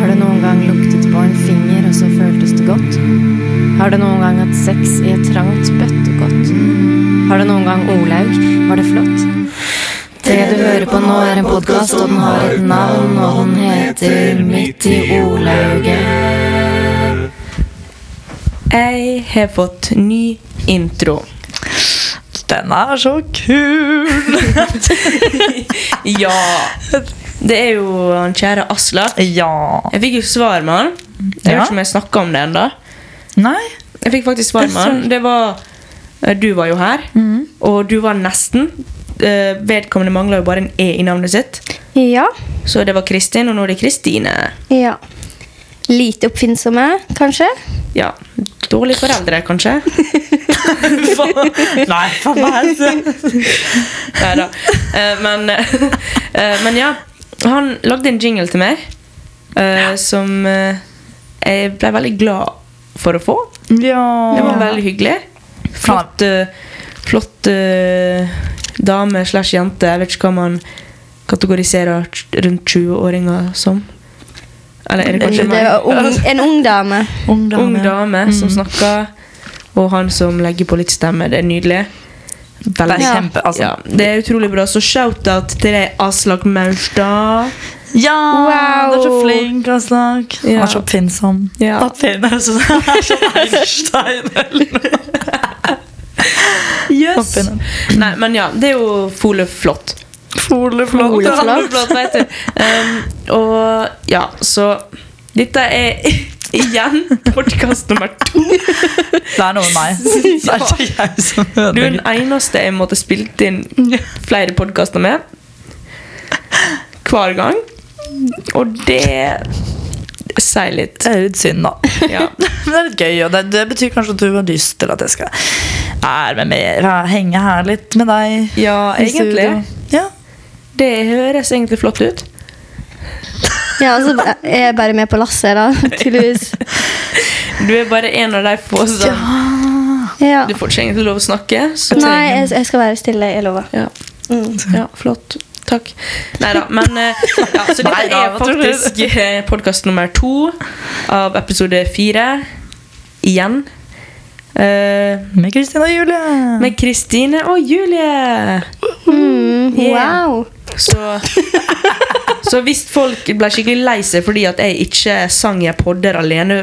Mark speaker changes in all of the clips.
Speaker 1: Har du noen gang luktet på en finger, og så føltes det godt? Har du noen gang hatt sex i et trangt bøttekott? Har du noen gang Olaug? Var det flott? Det du hører på nå, er en podkast, og den har et navn, og den heter Midt i Olauget.
Speaker 2: Jeg har fått ny intro.
Speaker 3: Den er så kul!
Speaker 2: Ja. Det er jo han kjære Aslak.
Speaker 3: Ja.
Speaker 2: Jeg fikk jo svar med han. Jeg
Speaker 3: Ja.
Speaker 2: vet ikke om jeg snakka om det ennå.
Speaker 3: Nei?
Speaker 2: Jeg fikk faktisk svar med han. Det var eh, Du var jo her, og du var nesten. Eh, Vedkommende mangla jo bare en E i navnet sitt.
Speaker 4: Ja.
Speaker 2: Så det var Kristin, og nå er det Kristine.
Speaker 4: ja. Lite oppfinnsomme, kanskje?
Speaker 2: Ja. Dårlige foreldre, kanskje?
Speaker 3: Nei, for meg.
Speaker 2: Nei da. men, eh, men ja, han lagde en jingle til meg eh, som eh, jeg ble veldig glad for å få.
Speaker 3: Ja.
Speaker 2: Det var veldig hyggelig. Flott, eh, flott eh, dame slash jente. Jeg vet ikke hva man kategoriserer t- rundt 20-åringer som. Eller er det kanskje Altså,
Speaker 4: Det var ung, en ung dame.
Speaker 3: Ungdom.
Speaker 2: Ung dame som snakker, og han som legger på litt stemme. Det er nydelig. Veldig.
Speaker 3: Det er kjempe, altså.
Speaker 2: ja, det er utrolig bra. Så shout-out til deg, Aslak Maurstad.
Speaker 3: Ja!
Speaker 4: Wow.
Speaker 3: Du er så flink, Aslak.
Speaker 2: Ja.
Speaker 3: Han er så oppfinnsom.
Speaker 2: Ja.
Speaker 3: Oppfinner, så- Han er som Einstein eller noe.
Speaker 2: Yes.
Speaker 3: Oppfinner.
Speaker 2: Nei, men ja, det er jo fole flott.
Speaker 3: Foleflott.
Speaker 2: Foleflott, vet du. Um, og ja, så Dette er igjen podkast nummer to.
Speaker 3: Det er noe med meg. Det er ikke jeg som
Speaker 2: Du er den
Speaker 3: ødelegger.
Speaker 2: eneste jeg måtte spilt inn flere podkaster med. Hver gang. Og det sier litt.
Speaker 3: Det er litt synd, da.
Speaker 2: Ja.
Speaker 3: Men det er litt gøy, og det, det betyr kanskje at du har lyst til at jeg skal være med mer, ha- henge her litt med deg.
Speaker 2: Ja,
Speaker 3: i studio.
Speaker 2: egentlig.
Speaker 3: Ja.
Speaker 2: Det høres egentlig flott ut.
Speaker 4: Ja, altså,
Speaker 2: eh,
Speaker 4: jeg er bare med på lasset, da. Tydeligvis.
Speaker 2: Du er bare en av de få som
Speaker 4: Ja.
Speaker 2: Du får ikke egentlig lov å snakke. Så
Speaker 4: Nei, jeg, jeg skal være stille. Mm. Jeg lover.
Speaker 2: Ja. ja, flott. Takk. Nei da, men eh, ja, Så dette
Speaker 3: Neida,
Speaker 2: er
Speaker 3: hva tror du?
Speaker 2: faktisk podkast nummer to av episode fire. Igjen. Eh,
Speaker 3: Med Kristin og Julie.
Speaker 2: med Kristine og Julie.
Speaker 4: Mm,
Speaker 2: Yeah.
Speaker 4: Wow.
Speaker 2: Så Så hvis folk ble skikkelig lei seg fordi at jeg ikke sang jeg podder alene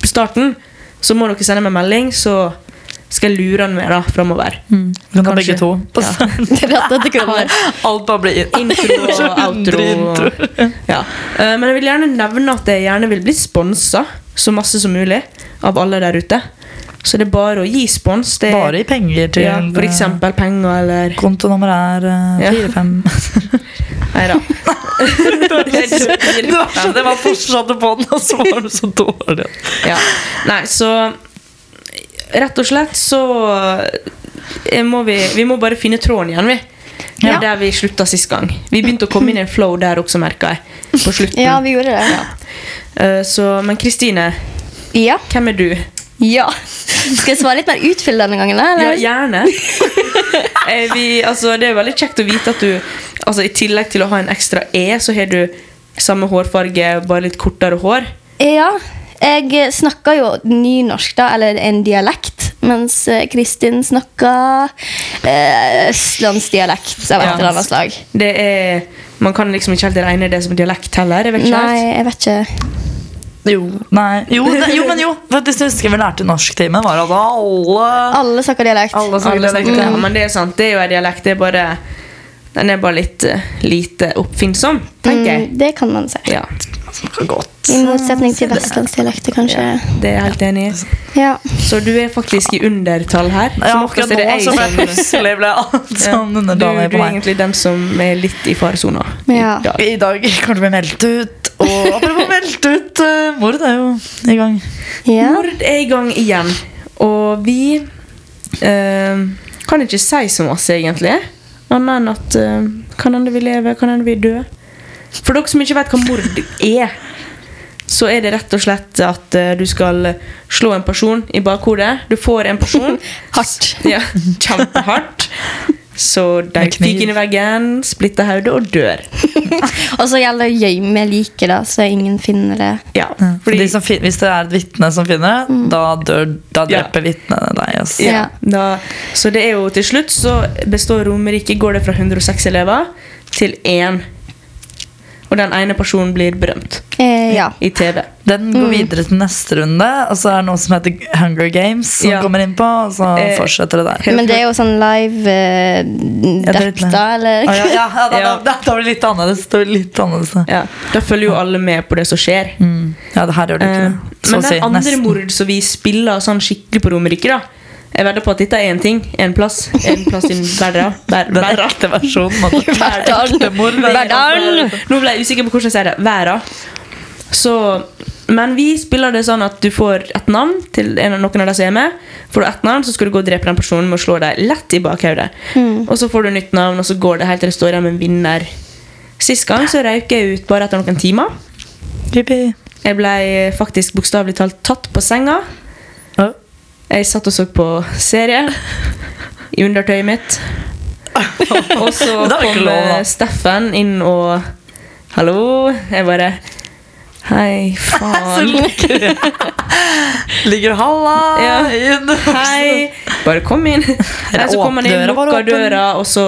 Speaker 2: på starten, så må dere sende meg melding, så skal jeg lure han med da, framover.
Speaker 3: Mm. Vi kan ta
Speaker 2: Kanskje.
Speaker 3: begge to.
Speaker 4: Dette kroner.
Speaker 3: Alt bare blir
Speaker 2: Intro og outro. Ja. Eh, Men jeg vil gjerne nevne at jeg gjerne vil bli sponsa så masse som mulig av alle der ute. Så det er bare å gi spons. Det er,
Speaker 3: Bare i penger til
Speaker 2: ja, for eksempel penger eller
Speaker 3: Kontonummer er eh,
Speaker 2: Ja.
Speaker 3: 45
Speaker 2: Nei da.
Speaker 3: Det var så- det var fortsatte på den, og så var du så dårlig.
Speaker 2: Ja. Nei, så Rett og slett så eh, må vi, vi må bare finne tråden igjen, vi.
Speaker 3: Ja.
Speaker 2: Der vi slutta sist gang. Vi begynte å komme inn i en flow der også, merka jeg. På slutten.
Speaker 4: Ja, vi gjorde det.
Speaker 2: Eh, så, men Kristine,
Speaker 4: Ja.
Speaker 2: hvem er du?
Speaker 4: ja. Skal jeg svare litt mer utfyllende denne gangen? da,
Speaker 2: Ja,
Speaker 4: Eller?
Speaker 2: gjerne. Eh, vi, altså, det er jo veldig kjekt å vite at du altså, I tillegg til å ha en ekstra E, så har du samme hårfarge, bare litt kortere hår.
Speaker 4: Ja, jeg snakker jo nynorsk, da, eller en dialekt, mens eh, Kristin snakker eh, østlandsdialekt av et
Speaker 2: Ja.
Speaker 4: eller annet slag.
Speaker 2: Det er, Man kan liksom ikke helt regne det som dialekt heller. Jeg vet ikke
Speaker 4: Nei,
Speaker 2: helt.
Speaker 4: jeg vet ikke.
Speaker 3: Jo, nei. Jo, ne, jo men jo. Faktisk jeg husker vi lærte i norsktimen, var at alle
Speaker 4: Alle snakker dialekt.
Speaker 3: Alle snakker
Speaker 2: Altså, Alle snakker
Speaker 3: dialekt,
Speaker 2: det,
Speaker 3: ja.
Speaker 2: men det er sant. Det er jo en dialekt. Det er bare, den er bare litt eh, lite oppfinnsom, tenker jeg.
Speaker 4: Mm, det kan man si.
Speaker 2: Ja,
Speaker 3: Smaker godt.
Speaker 4: I motsetning til vestlandsdialekter,
Speaker 2: sånn,
Speaker 4: kanskje.
Speaker 2: Det er jeg helt enig i.
Speaker 4: Ja.
Speaker 2: Så du er faktisk i undertall her.
Speaker 3: Ja,
Speaker 2: Som
Speaker 3: akkurat
Speaker 2: oftest er det
Speaker 3: nå
Speaker 2: jeg
Speaker 3: så ble
Speaker 2: som
Speaker 3: plutselig ble alt sånn
Speaker 2: Du, du er
Speaker 3: underdanig på meg.
Speaker 2: egentlig den som er litt i faresona
Speaker 4: Ja.
Speaker 2: i dag.
Speaker 3: I dag kan du bli meldt ut. Og apropos meldt ut, eh, mord er jo i gang.
Speaker 4: ja.
Speaker 2: Mord er i gang igjen, og vi eh, kan ikke si så masse, egentlig. Annet enn at eh, kan hende vi lever, kan hende vi dør. For dere som ikke vet hva mord er, så er det rett og slett at eh, du skal slå en person i bakhodet. Du får en person
Speaker 4: Hardt.
Speaker 2: Ja, kjempehardt. Så de
Speaker 3: Med kniv.
Speaker 2: fyker inn i veggen, splitter hodet og dør.
Speaker 4: Og så gjelder det å gjemme liket, da, så ingen finner det.
Speaker 2: Ja,
Speaker 3: For
Speaker 2: fordi
Speaker 3: de som fin- hvis det er et vitne som finner det, da, dør, da
Speaker 2: Ja.
Speaker 3: dreper vitnene deg. ass.
Speaker 2: ja. Da, så det er jo til slutt så består Romerike går det fra 106 elever til én. Og den ene personen blir berømt
Speaker 4: Eh, ja.
Speaker 2: i TV.
Speaker 3: Den
Speaker 2: Mm.
Speaker 3: går videre til neste runde, og så er det noe som heter Hunger Games. Som
Speaker 2: Ja.
Speaker 3: kommer inn på, Og så
Speaker 2: Eh,
Speaker 3: fortsetter det der.
Speaker 4: Men det er jo sånn live eh,
Speaker 3: Ja, det er
Speaker 4: dept,
Speaker 3: litt-
Speaker 4: da, eller?
Speaker 3: Å, ja, ja, ja, da,
Speaker 2: Ja.
Speaker 3: Da, da blir det litt annerledes. Da blir det litt annerledes da.
Speaker 2: Ja, da følger jo alle med på det som skjer.
Speaker 3: Mm. ja, det her gjør du ikke
Speaker 2: Eh,
Speaker 3: det. Så
Speaker 2: men
Speaker 3: å si.
Speaker 2: den andre
Speaker 3: Nesten.
Speaker 2: mord som vi spiller sånn skikkelig på Romerike, da Jeg vedder på at dette er én ting, én plass, én plass i verden. Hver,
Speaker 3: Den
Speaker 2: hver,
Speaker 3: ekte versjonen. måtte-
Speaker 4: Verdalen.
Speaker 3: Ekte mord, det er-
Speaker 4: Verdalen.
Speaker 2: Nå ble jeg usikker på hvordan jeg sier det. Væra. Så, men vi spiller det sånn at du får et navn til en av noen av de som er med. Får du ett navn, så skal du gå og drepe den personen med å slå deg lett i bakhodet. Og så får du nytt navn, og så går det helt til det står igjen en vinner. Sist gang så røyk jeg ut bare etter noen timer.
Speaker 3: Yippee.
Speaker 2: Jeg ble faktisk bokstavelig talt tatt på senga.
Speaker 3: Å.
Speaker 2: Jeg satt og så på serie i undertøyet mitt. Og så
Speaker 3: Men det er ikke
Speaker 2: kom
Speaker 3: lov, da.
Speaker 2: eh, Steffen inn og Hallo. Jeg bare Hei, faen.
Speaker 3: Ligger halla
Speaker 2: Ja.
Speaker 3: inn.
Speaker 2: Hei. Bare kom inn. Nei, så kom han inn,
Speaker 3: Døra var
Speaker 2: lukka
Speaker 3: åpen.
Speaker 2: døra, og så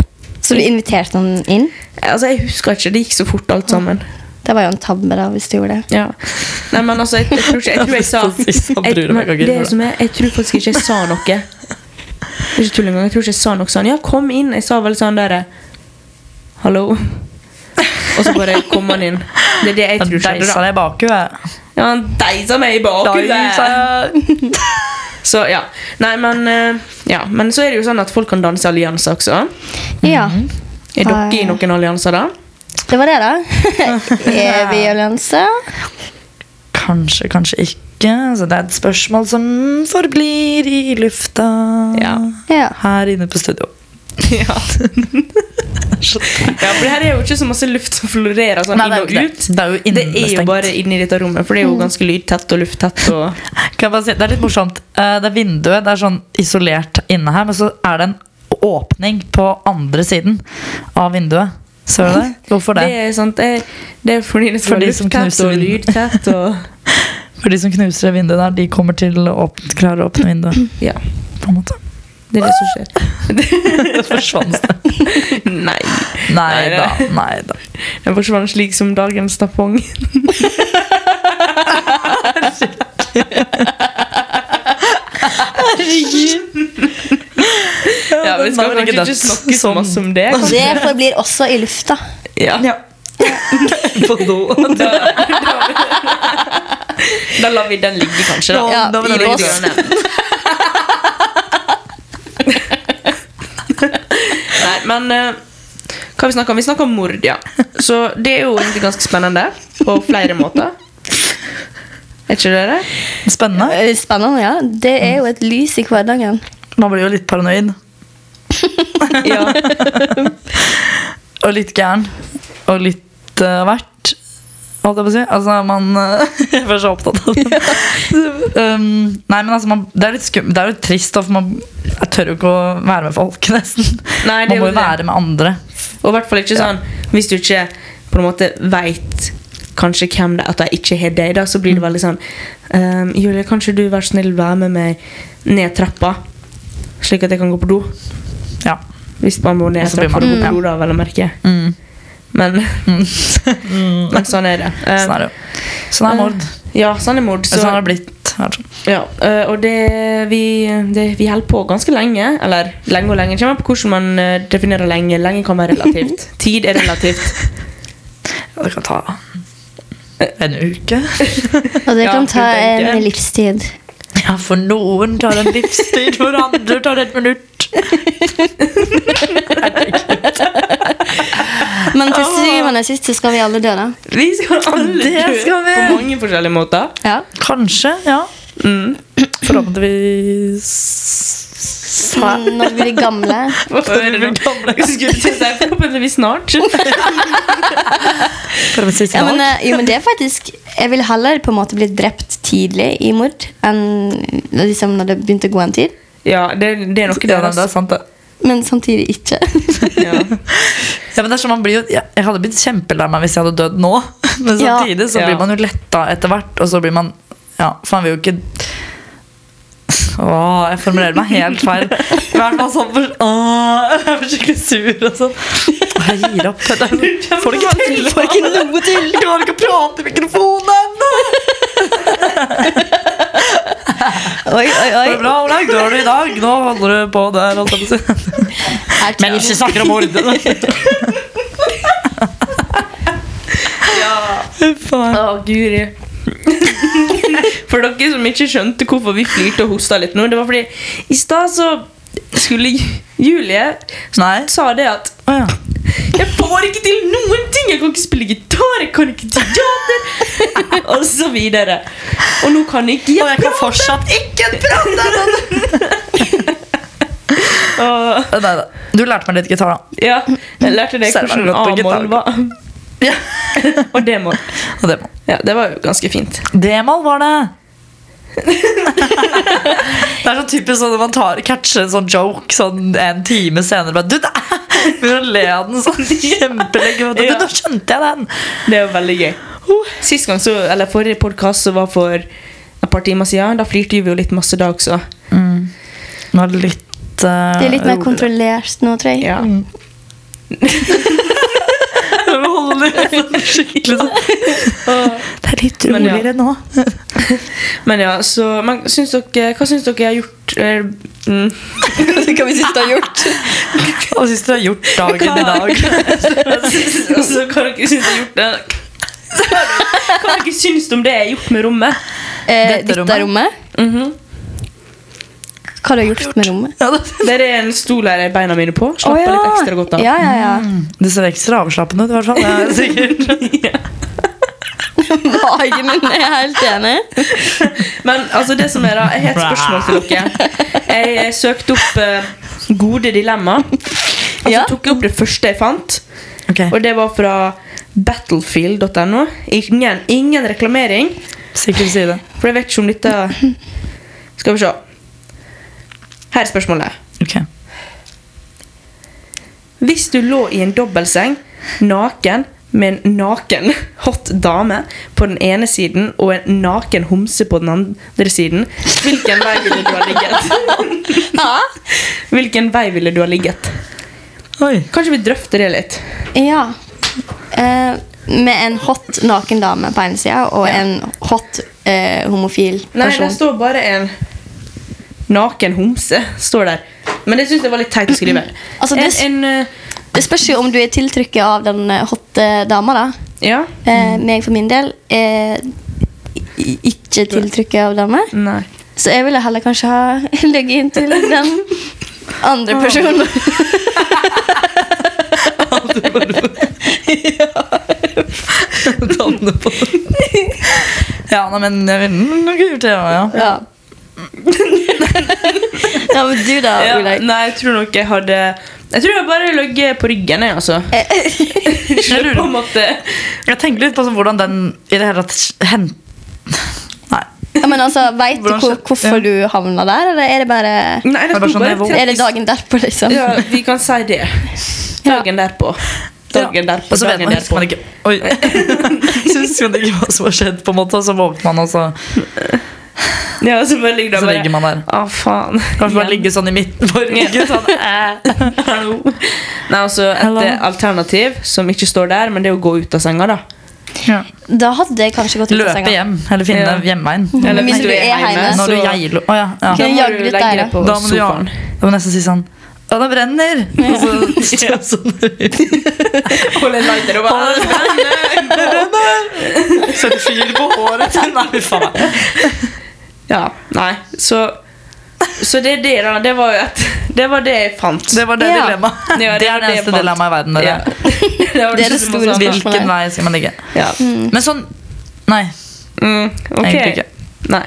Speaker 4: Så du inviterte noen inn?
Speaker 2: Altså, jeg husker ikke. Det gikk så fort, alt sammen.
Speaker 4: Det var jo en tabbe, da, hvis du gjorde det.
Speaker 2: Ja. Nei, men altså, jeg, jeg tror ikke Jeg tror jeg sa
Speaker 3: Sist han
Speaker 2: jeg,
Speaker 3: bryr meg
Speaker 2: men,
Speaker 3: ikke,
Speaker 2: Det
Speaker 3: Gud.
Speaker 2: som er, jeg tror faktisk ikke jeg sa noe. Det er ikke tull engang. Jeg tror ikke jeg sa noe sånn. Ja, kom inn. Jeg sa vel sånn derre Hallo. Og så bare kom han inn. Det er det jeg
Speaker 3: Den
Speaker 2: tror skjedde,
Speaker 3: deisa
Speaker 2: da.
Speaker 3: deg i bakhuet.
Speaker 2: Ja, han deisa meg i bakhuet.
Speaker 3: Deisa.
Speaker 2: Så ja. Nei, men eh, Ja, men så er det jo sånn at folk kan danse allianser også.
Speaker 4: Ja.
Speaker 2: Er dere i
Speaker 4: Nei.
Speaker 2: noen allianser, da?
Speaker 4: Det var det, da. Er vi i allianse?
Speaker 3: Kanskje, kanskje ikke. Så det er et spørsmål som forblir i lufta
Speaker 2: Ja.
Speaker 4: Ja.
Speaker 3: her inne på studio.
Speaker 2: Ja. ja, for det her er jo ikke så masse luft som florerer sånn inn og ut.
Speaker 3: Det er jo
Speaker 2: Det er jo
Speaker 3: innestengt. Mm.
Speaker 2: bare inni dette rommet, for det er jo ganske lydtett og lufttett. Og
Speaker 3: Kan jeg bare si, det er litt morsomt. Eh, Det er vinduet, det er sånn isolert inne her, men så er det en åpning på andre siden av vinduet. Ser du det? Hvorfor
Speaker 2: det,
Speaker 3: det?
Speaker 2: er sant, det, det er fordi det skal
Speaker 3: For de
Speaker 2: være
Speaker 3: som
Speaker 2: lufttett
Speaker 3: knuser
Speaker 2: og
Speaker 3: vinduet.
Speaker 2: lydtett. Og,
Speaker 3: For de som knuser det vinduet der, de kommer til å åpne, klare å åpne vinduet.
Speaker 2: ja,
Speaker 3: På en måte.
Speaker 2: det er det som skjer.
Speaker 3: Det forsvant det.
Speaker 2: Nei.
Speaker 3: Nei
Speaker 2: Nei,
Speaker 3: da.
Speaker 2: det-
Speaker 3: Nei da.
Speaker 2: Den forsvant slik som dagens tampong. Ja, vi skal
Speaker 3: den er vel
Speaker 2: kanskje
Speaker 3: ikke
Speaker 2: ikke
Speaker 3: dødt.
Speaker 2: snakke så masse om det. kanskje?
Speaker 4: Det forblir også i lufta.
Speaker 2: Ja.
Speaker 3: Ja. På do.
Speaker 2: Da, da, da lar vi den ligge, kanskje. Da.
Speaker 4: Ja,
Speaker 3: da
Speaker 2: I
Speaker 3: var den
Speaker 2: det
Speaker 3: ligge.
Speaker 2: hjørnet. Nei, men eh, hva har vi snakket om? Vi snakker om mord, ja. Så det er jo egentlig ganske spennende på flere måter. Er ikke det det?
Speaker 3: Spennende.
Speaker 4: Eh, Spennende, ja. Det er jo et lys i hverdagen.
Speaker 3: Man blir jo litt paranoid.
Speaker 2: Ja.
Speaker 3: Og litt gæren. Og litt uh, verdt. Holdt jeg på å si. Altså, man eh, Jeg var så opptatt av det. um, nei, men altså, man, det er litt skum, Det er jo trist, da, for man jeg tør jo ikke å være med folk, nesten.
Speaker 2: Nei, det
Speaker 3: man
Speaker 2: er
Speaker 3: må
Speaker 2: jo
Speaker 3: jo
Speaker 2: det.
Speaker 3: være med andre.
Speaker 2: Og i hvert fall ikke sånn hvis du ikke på en måte veit kanskje hvem det er at de ikke har deg, da, så blir
Speaker 3: Mm.
Speaker 2: det veldig sånn ehm, Julie, kanskje du vær snill være med meg ned trappa, slik at jeg kan gå på do?
Speaker 3: Ja.
Speaker 2: Hvis man må ned
Speaker 3: Og så blir
Speaker 2: trappa for å
Speaker 3: man-
Speaker 2: gå på do, da, vel å merke.
Speaker 3: Mm.
Speaker 2: Men, men sånn er det. Eh,
Speaker 3: Sånn er det jo. Sånn er mord.
Speaker 2: Ja, sånn er mord. Så,
Speaker 3: sånn har det blitt. her, sånn.
Speaker 2: ja, eh, og det vi, det vi holder på ganske lenge. Eller lenge og lenge. Det kommer an på hvordan man eh, definerer lenge. Lenge kan være relativt. Tid er relativt.
Speaker 3: Ja, det kan ta en uke.
Speaker 4: Og det
Speaker 2: Ja,
Speaker 4: kan
Speaker 2: du
Speaker 4: ta
Speaker 2: tenker.
Speaker 4: en livstid.
Speaker 3: Ja, for noen tar en livstid, for andre tar et minutt.
Speaker 4: Men til syvende og sist så skal vi alle dø, da.
Speaker 2: Vi skal alle
Speaker 3: Det
Speaker 2: dø
Speaker 3: skal vi.
Speaker 2: på mange forskjellige måter.
Speaker 4: Ja.
Speaker 3: Kanskje, ja.
Speaker 2: Mm.
Speaker 3: Forhåpentligvis Sær.
Speaker 4: Når vi blir gamle.
Speaker 2: Skulle ikke si forhåpentligvis snart.
Speaker 3: Forhåpentligvis
Speaker 4: Ja, men,
Speaker 3: snart.
Speaker 4: eh, jo, men det er faktisk Jeg vil heller på en måte bli drept tidlig i mord enn liksom når det begynte å gå en tid.
Speaker 2: Ja, det, det er noe der.
Speaker 3: Ja, men det
Speaker 2: altså.
Speaker 3: er sant, det.
Speaker 4: men samtidig ikke.
Speaker 2: Ja.
Speaker 3: Ja, men det er sånn, man blir jo, jeg, jeg hadde blitt kjempelei meg hvis jeg hadde dødd nå. Men
Speaker 4: Ja.
Speaker 3: samtidig så
Speaker 2: Ja.
Speaker 3: blir man jo letta etter hvert, og så blir man Ja, for man vil jo ikke Åh, jeg formulerer meg helt feil. I hvert fall sånn for, åh, Jeg blir skikkelig sur og sånn. Åh, Jeg gir opp. Det er- Får det ikke til! Får ikke noe til! Jeg klarer ikke å prate i mikrofonen!
Speaker 4: Oi, oi,
Speaker 3: Det er
Speaker 4: oi.
Speaker 3: bra, Olaug. Du har det i dag. Nå holder du på der. Holdt jeg på å si.
Speaker 4: Her
Speaker 3: Men ikke snakker om mord.
Speaker 2: Å, guri. For dere som ikke skjønte hvorfor vi flirte og hosta litt nå, det var fordi i stad så skulle Ju- Julie
Speaker 3: Nei.
Speaker 2: sa det at
Speaker 3: Å ja.
Speaker 2: Jeg får ikke til noen ting! Jeg kan ikke spille gitar, jeg kan ikke teater Og så videre. Og nå kan ikke
Speaker 3: Og jeg
Speaker 2: jeg
Speaker 3: kan fortsatt ikke
Speaker 2: og,
Speaker 3: Nei da. Du lærte meg litt gitar, da.
Speaker 2: Ja, jeg lærte deg
Speaker 3: Selv
Speaker 2: hvordan
Speaker 3: om det ikke
Speaker 2: A-moll var.
Speaker 3: Ja.
Speaker 2: Og D-moll.
Speaker 3: Og det må
Speaker 2: Ja, det var jo ganske fint.
Speaker 3: D-moll var det! det er så typisk sånn når man tar, catcher en sånn joke sånn en time senere. Bare, du, det Begynner å le av den sånn kjempelenge. Du,
Speaker 2: Ja.
Speaker 3: nå skjønte jeg den!
Speaker 2: Det er jo veldig gøy. Sist gang, så, eller Forrige podkast var for et par timer siden. Da flirte vi jo litt masse da også.
Speaker 3: Mm. Nå er det litt eh, Mm.
Speaker 4: Det er litt mer
Speaker 3: rolig.
Speaker 4: kontrollert nå, tror jeg.
Speaker 2: Ja.
Speaker 3: Jeg må holde det sånn skikkelig sånn. Det er litt
Speaker 2: Men ja.
Speaker 3: roligere nå.
Speaker 2: Men ja, så men, syns dere, Hva syns dere jeg har gjort? eh, mm,
Speaker 4: Hva vi siste har gjort.
Speaker 3: Hva syns du har gjort dagen i dag?
Speaker 2: altså, hva dere syns jeg har gjort eh, Hva dere syns om det jeg har gjort med rommet?
Speaker 4: Eh,
Speaker 3: Dette
Speaker 4: dette
Speaker 3: rommet.
Speaker 4: rommet. Hva har du gjort med rommet?
Speaker 3: Ja, det,
Speaker 2: Mhm. Det er en stol her jeg beina mine på. Slapper
Speaker 4: Å,
Speaker 2: litt ekstra godt av.
Speaker 4: Ja, ja, ja.
Speaker 3: Mm. det ser ekstra avslappende ut, i hvert fall. Det er sikkert.
Speaker 2: Mm.
Speaker 4: Magen min er helt enig.
Speaker 2: Men altså, det som er da Jeg har et spørsmål til dere. Jeg søkte opp eh, gode dilemma. Og så
Speaker 4: Ja.
Speaker 2: tok jeg opp det første jeg fant.
Speaker 3: Ok,
Speaker 2: Og det var fra battlefield.no. Ingen, ingen reklamering,
Speaker 3: sikkert si det.
Speaker 2: for jeg vet ikke om dette Skal vi se. Her er spørsmålet.
Speaker 3: Ok.
Speaker 2: Hvis du lå i en dobbeltseng naken med en naken hot dame på den ene siden og en naken homse på den andre siden, hvilken vei ville du ha ligget? Hvilken vei ville du ha ligget?
Speaker 3: Oi.
Speaker 2: Kanskje vi drøfter det litt?
Speaker 4: Ja. Eh, med en hot naken dame på ene sida og en hot eh, homofil
Speaker 2: Nei, det
Speaker 4: person.
Speaker 2: står bare en naken homse. står der. Men det syns jeg var litt teit å skrive.
Speaker 4: Altså, det s-
Speaker 2: en, en, eh,
Speaker 4: Det spørs jo om du er tiltrykket av den eh, hotte dama, da.
Speaker 2: ja.
Speaker 4: Eh, meg for min del er i- ikke tiltrykket av damer.
Speaker 2: Nei.
Speaker 4: Så jeg ville heller kanskje ha ligget inntil den andre personen.
Speaker 3: Ja, nei, men jeg ville nok gjort det, ja. ja.
Speaker 4: Ja. ja, men du da,
Speaker 2: Ja,
Speaker 4: Olaug?
Speaker 2: nei, jeg tror nok jeg hadde Jeg tror jeg bare ligget på ryggen, jeg, altså.
Speaker 3: Jeg,
Speaker 2: På en
Speaker 3: lurer,
Speaker 2: måte.
Speaker 3: jeg tenker litt på sånn, hvordan den i det hele tatt hen... Nei.
Speaker 4: Ja, men altså, Veit du
Speaker 3: Hvordan
Speaker 4: hvor,
Speaker 3: skje-
Speaker 4: hvorfor du havna der, eller er det bare
Speaker 2: Nei, det
Speaker 3: Det var
Speaker 2: sto
Speaker 3: sånn
Speaker 2: bare
Speaker 3: jeg våg-
Speaker 4: Er det
Speaker 2: 30
Speaker 4: dagen derpå, liksom?
Speaker 2: Ja, vi kan si det. Dagen derpå. Dagen derpå.
Speaker 3: Og så vet
Speaker 2: Dagen
Speaker 3: man, husker
Speaker 2: derpå.
Speaker 3: man ikke Oi. Så husker man ikke hva som har skjedd, på en måte, og så våkner man, og så,
Speaker 2: Ja, så bare ligger
Speaker 3: så
Speaker 2: det
Speaker 3: ligger
Speaker 2: bare
Speaker 3: man der.
Speaker 2: Å, faen.
Speaker 3: Kanskje man
Speaker 2: Igjen.
Speaker 3: ligger sånn i midten på ryggen.
Speaker 2: Ikke sånn, eh, hallo. Nei, altså Et
Speaker 3: Hallo.
Speaker 2: eh, alternativ som ikke står der, men det er å gå ut av senga. da
Speaker 3: Ja.
Speaker 4: Da hadde jeg kanskje gått ut av
Speaker 3: Løpe
Speaker 4: senga.
Speaker 3: hjem, eller finne
Speaker 2: Ja.
Speaker 3: hjemveien.
Speaker 2: Eller
Speaker 4: hvis du er hjemme,
Speaker 3: Når du
Speaker 2: så-
Speaker 3: geiler Å ja. ja.
Speaker 2: Da må
Speaker 4: Ok.
Speaker 2: du
Speaker 4: jagger litt
Speaker 2: legge
Speaker 4: der,
Speaker 2: deg på
Speaker 3: Da må du ja.
Speaker 2: sofaen.
Speaker 3: Da må jeg nesten si sånn Å, det brenner! Og så står jeg sånn
Speaker 2: Hold en lighter og bare
Speaker 3: Setter fyr på håret til Nei, faen meg.
Speaker 2: Ja, nei, så Så det er det, da. Det var jo et Det var det jeg fant.
Speaker 3: Det var det
Speaker 4: Ja.
Speaker 3: dilemmaet.
Speaker 2: Ja,
Speaker 3: det,
Speaker 2: det
Speaker 3: er
Speaker 2: var
Speaker 3: det
Speaker 2: det jeg
Speaker 3: eneste
Speaker 2: fant.
Speaker 3: dilemmaet i verden.
Speaker 2: Ja. Det
Speaker 3: Dere.
Speaker 2: var
Speaker 4: Det er det
Speaker 2: som
Speaker 4: store
Speaker 2: var sånn.
Speaker 4: spørsmålet.
Speaker 3: Hvilken vei skal man ligge?
Speaker 2: Ja.
Speaker 3: Men sånn Nei.
Speaker 2: Mm, ok.
Speaker 3: Egentlig ikke.
Speaker 2: Nei.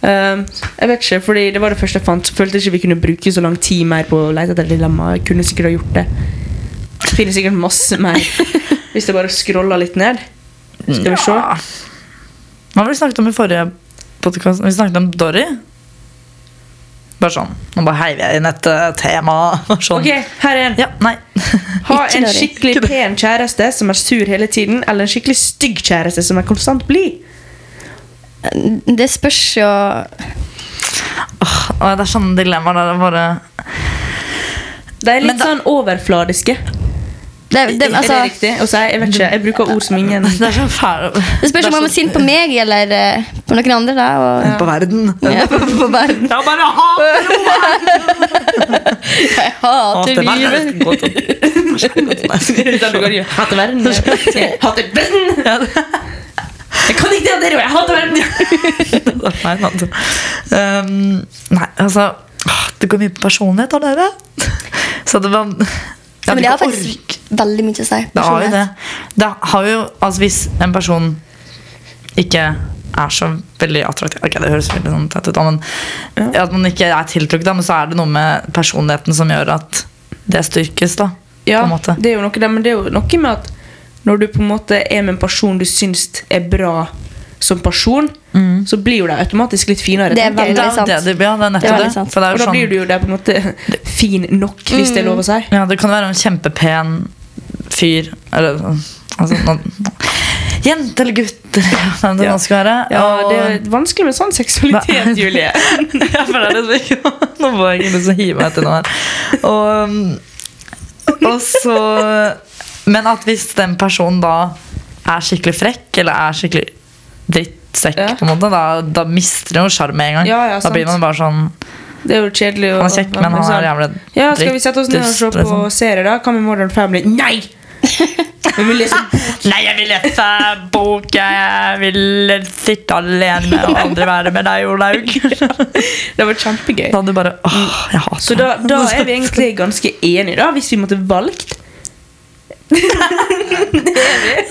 Speaker 2: Um, jeg vet ikke, fordi det var det første jeg fant. Følte ikke vi kunne bruke så lang tid mer på å lete etter dilemmaer. Jeg Kunne sikkert ha gjort det. Finner sikkert masse mer hvis jeg bare scroller litt ned. Skal vi se.
Speaker 3: Ja. Hva var det vi snakket om i forrige podkast? Vi snakket om Dory. Bare sånn. Nå bare heiver jeg inn et eh, tema. Bare Sånn.
Speaker 2: Ok, her er en.
Speaker 3: Ja, nei.
Speaker 2: Ha
Speaker 4: Ikke
Speaker 2: en
Speaker 4: noe.
Speaker 2: skikkelig pen kjæreste som er sur hele tiden, eller en skikkelig stygg kjæreste som er konstant blid.
Speaker 4: Det spørs jo
Speaker 3: Åh, det er sånne dilemmaer der det bare
Speaker 2: De er
Speaker 3: Men
Speaker 2: litt
Speaker 3: da-
Speaker 2: sånn overfladiske.
Speaker 4: det, det, altså,
Speaker 2: er det riktig å si? Jeg vet ikke. Jeg bruker ord som ingen
Speaker 3: Det er så fæle
Speaker 4: det spørs om man er sint på meg eller eh, på noen andre. da og,
Speaker 3: På verden.
Speaker 4: ja, på, på verden.
Speaker 2: Ja, bare ha!
Speaker 4: Jeg hater
Speaker 2: Hater
Speaker 4: livet.
Speaker 2: verden. Jeg hater verden! Jeg kan ikke det dere, og jeg hater verden!
Speaker 3: Nei, altså. Um, nei, altså åh, Det går mye på personlighet av dere. Så det var
Speaker 4: Ja, men det har
Speaker 3: ikke
Speaker 4: faktisk veldig mye å si.
Speaker 3: Det har jo
Speaker 4: personlighet.
Speaker 3: det. Det har jo, altså Hvis en person ikke er så veldig attraktiv Ok, det høres veldig sånn tett ut, da, men at man ikke er tiltrukket, da, men så er det noe med personligheten som gjør at det styrkes. da
Speaker 2: Ja,
Speaker 3: på en måte.
Speaker 2: det er jo noe der, men det er jo noe med at når du på en måte er med en person du syns er bra som person, så blir jo de automatisk litt finere.
Speaker 4: Det er
Speaker 2: tenker jeg.
Speaker 3: Mm. Det er jo
Speaker 4: sant.
Speaker 3: det, det, ja, det er
Speaker 4: Det er
Speaker 3: nettopp
Speaker 4: veldig
Speaker 3: det.
Speaker 4: sant.
Speaker 3: For det er
Speaker 2: Og
Speaker 3: jo
Speaker 2: da blir
Speaker 3: sånn,
Speaker 2: du jo der på en måte fin nok, hvis det er lov å si.
Speaker 3: ja, det kan være en kjempepen fyr Eller altså, nå, Jente eller gutt, eller hvem det
Speaker 2: Ja.
Speaker 3: nå skal være.
Speaker 2: Ja,
Speaker 3: og-
Speaker 2: det er vanskelig med sånn seksualitet,
Speaker 3: Hva-
Speaker 2: Julie.
Speaker 3: Ja, for det er det som ikke Nå må jeg ikke lyst til å hive meg etter noe her. Og, um, og så Men at hvis den personen da er skikkelig frekk, eller er skikkelig drittsekk,
Speaker 2: Ja.
Speaker 3: på en måte, da, da mister den jo sjarm med en gang.
Speaker 2: Ja, ja,
Speaker 3: da
Speaker 2: sant.
Speaker 3: blir man bare sånn
Speaker 2: Det er jo kjedelig å Sånn.
Speaker 3: Han er kjekk, men han er sånn, jævlig
Speaker 2: Ja, skal vi sette oss ned og se
Speaker 3: drittdust,
Speaker 2: på
Speaker 3: liksom.
Speaker 2: serier, da? Hva med Modern Family? Nei! Vi liksom- vil lese
Speaker 3: Nei, jeg vil lese bok, jeg vil sitte alene og aldri være med deg, Olaug.
Speaker 2: Det var kjempegøy.
Speaker 3: Da hadde du bare åh, jeg hater
Speaker 2: Så da, da er vi egentlig ganske enige, da, hvis vi måtte valgt.
Speaker 3: egentlig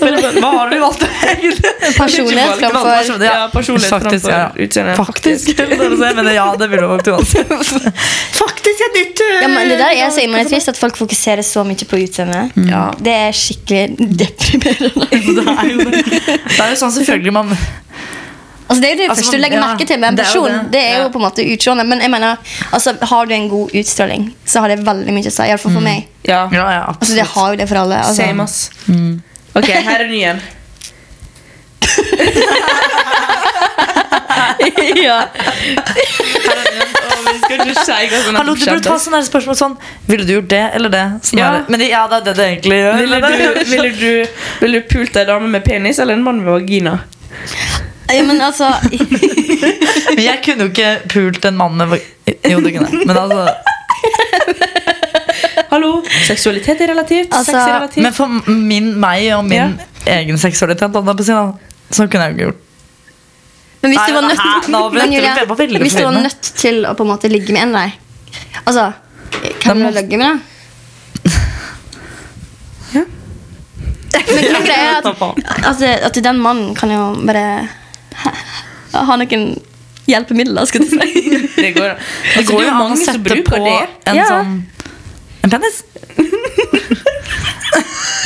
Speaker 3: Hva har vi valgt, egentlig?
Speaker 4: Personlighet
Speaker 2: Ikke valgt,
Speaker 4: framfor-
Speaker 2: valgt personlighet. Ja, personlighet
Speaker 3: Faktisk,
Speaker 2: framfor
Speaker 3: ja.
Speaker 2: utseende.
Speaker 3: Faktisk. Men ja, det ville vært uansett. Faktisk øh, er nytt!
Speaker 4: Ja, men det der er så innmari trist at folk fokuserer så mye på utseendet.
Speaker 2: Ja.
Speaker 4: Det er skikkelig deprimerende.
Speaker 3: Mm. Det er jo det. Det er jo sånn selvfølgelig man
Speaker 4: Altså, det er jo det
Speaker 3: Altså,
Speaker 4: første du
Speaker 3: man-
Speaker 4: legger
Speaker 3: ja,
Speaker 4: merke til med en
Speaker 3: det er jo
Speaker 4: person. Det er
Speaker 3: det.
Speaker 4: jo,
Speaker 3: Ja.
Speaker 4: på en måte utseendet. Men jeg mener, altså, har du en god utstråling, så har det veldig mye å si. Iallfall
Speaker 3: Mm.
Speaker 4: for meg.
Speaker 2: Ja.
Speaker 3: Ja, ja,
Speaker 4: Altså, det
Speaker 3: absolutt.
Speaker 4: har jo det for alle. Altså.
Speaker 2: Same, ass.
Speaker 3: mm.
Speaker 2: Ok, her er ny en.
Speaker 4: ja.
Speaker 2: Vi skal ikke si hva som
Speaker 3: Hallo, du burde ta sånne her spørsmål sånn Ville du gjort det eller det? Sånn
Speaker 2: Ja.
Speaker 3: her. Men det- ja, det er det det egentlig gjør.
Speaker 2: ville du, ville du, ville du pult ei dame med penis eller en mann med vagina?
Speaker 4: ja, men altså
Speaker 3: Men jeg kunne jo ikke pult en mann med Jo, det kunne jeg. Men altså
Speaker 2: Hallo, seksualitet er relativt. sex
Speaker 4: Altså,
Speaker 2: er relativt.
Speaker 3: Men for min, meg og min egen seksualitet, holdt jeg på å si, da, så kunne jeg jo ikke gjort
Speaker 4: Men hvis
Speaker 3: Nei,
Speaker 4: du var
Speaker 3: men
Speaker 4: nødt,
Speaker 3: her- nå ble-
Speaker 4: men,
Speaker 3: jeg var veldig
Speaker 4: Julia, hvis du var
Speaker 3: forvirrende.
Speaker 4: nødt til å på en måte ligge med en vei Altså,
Speaker 3: Da
Speaker 4: hvem
Speaker 3: må-
Speaker 4: vil du ligge med, da?
Speaker 2: Ja.
Speaker 4: Men greia er at,
Speaker 3: Ta på.
Speaker 4: altså, at den mannen kan jo bare ha noen hjelpemidler, skulle jeg si.
Speaker 2: Det går,
Speaker 3: Det
Speaker 2: altså,
Speaker 3: går
Speaker 2: det er
Speaker 3: jo an å
Speaker 2: mange som
Speaker 3: sette
Speaker 2: bruker
Speaker 3: på
Speaker 2: det.
Speaker 3: en
Speaker 4: Ja.
Speaker 3: sånn En penis?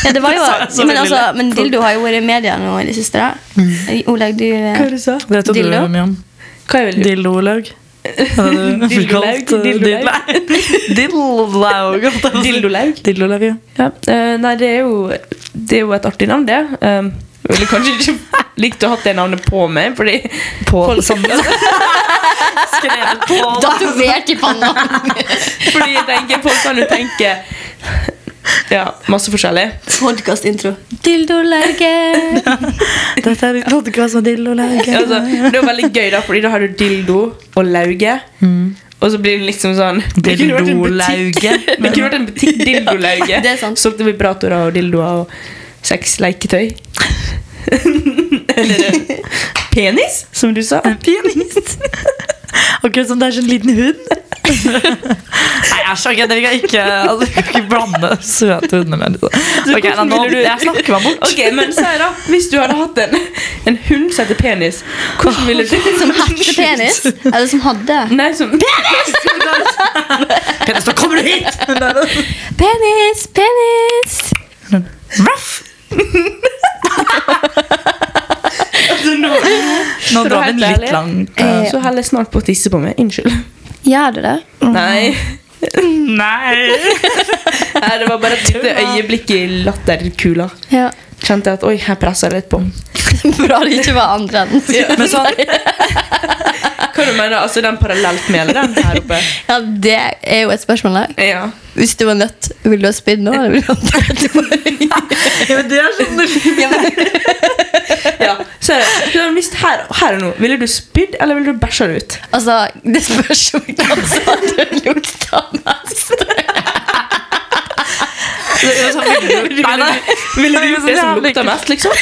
Speaker 4: Ja, det var jo,
Speaker 3: Det sa jeg så
Speaker 4: men,
Speaker 3: veldig
Speaker 4: altså, men dildo har jo vært i media nå i det siste. da. Olaug, du eh,
Speaker 2: Hva er det du sa?
Speaker 3: Det vet jo
Speaker 4: Dildo?
Speaker 3: du mye om.
Speaker 2: Hva er det du
Speaker 3: Dildolaug.
Speaker 2: Dildolaug, dildolaug.
Speaker 3: Dildolaug. holdt jeg på å si.
Speaker 2: Dildolaug?
Speaker 3: Dildolaug, ja.
Speaker 2: Ja, eh, nei, det er, jo, det er jo et artig navn, det. Um, jeg ville kanskje ikke likt å ha hatt det navnet på meg, fordi
Speaker 3: På
Speaker 2: Folk-
Speaker 3: sånn skrevet på
Speaker 4: Datovert i panna!
Speaker 2: Fordi jeg tenker, folk kan jo tenke Ja, masse forskjellig.
Speaker 4: Podkastintro. Dildolauget.
Speaker 3: Dette er en podcast med Dildolaug.
Speaker 2: Ja, Altså, det er jo veldig gøy, da, Fordi da har du dildo og lauge.
Speaker 4: Mm.
Speaker 2: Og så blir det liksom sånn Det kunne vært en butikk,
Speaker 3: Dildolauget.
Speaker 2: det kunne vært en butikk dildolauge.
Speaker 4: Det er sant.
Speaker 2: Solgte vibratorer og dildoer og sexleketøy. Eller eh, penis, som du sa.
Speaker 3: Pianist. Akkurat som det er sånn liten hund. Nei, æsj. ok, Dere kan ikke, altså, dere kan ikke blande søte hunder med liksom. Ok, da, nå, Jeg snakker meg bort.
Speaker 2: Ok, men si da, Hvis du hadde hatt en, en hund som heter penis, hvordan ville du
Speaker 4: Som hette penis. Eller som hadde.
Speaker 2: Nei, som
Speaker 3: Penis, nå kommer du hit!
Speaker 4: Penis, penis!
Speaker 3: Ruff.
Speaker 2: Nå
Speaker 3: Nå
Speaker 2: For å
Speaker 3: drar
Speaker 2: være
Speaker 3: vi
Speaker 2: helt
Speaker 3: den litt Altså,
Speaker 2: ærlig.
Speaker 3: langt.
Speaker 4: Eh,
Speaker 2: Så heller snart på å tisse på meg. Unnskyld.
Speaker 4: Gjør du det?
Speaker 2: Nei.
Speaker 3: Nei!
Speaker 2: Nei, det var bare et øyeblikk i latterkula.
Speaker 4: Ja.
Speaker 2: Kjente jeg at oi, her presser jeg litt på.
Speaker 4: Bra det ikke var andre enden.
Speaker 3: Men sånn,
Speaker 2: Hva du mener Altså den parallelt med eller den her oppe?
Speaker 4: Ja, det er jo et spørsmål der.
Speaker 2: Ja.
Speaker 4: Hvis du var nødt, ville du ha spydd nå? Eller ville du ha
Speaker 3: det er sånn
Speaker 2: ja. Så er det- så er det visst her, her og nå. Ville du spydd, eller ville du bæsja det ut?
Speaker 4: Altså, det spørs jo hva som hadde lukta mest.
Speaker 2: Altså,
Speaker 3: Nei, nei.
Speaker 2: Ville du gjort altså, det som lukta
Speaker 3: meg?
Speaker 2: mest, liksom?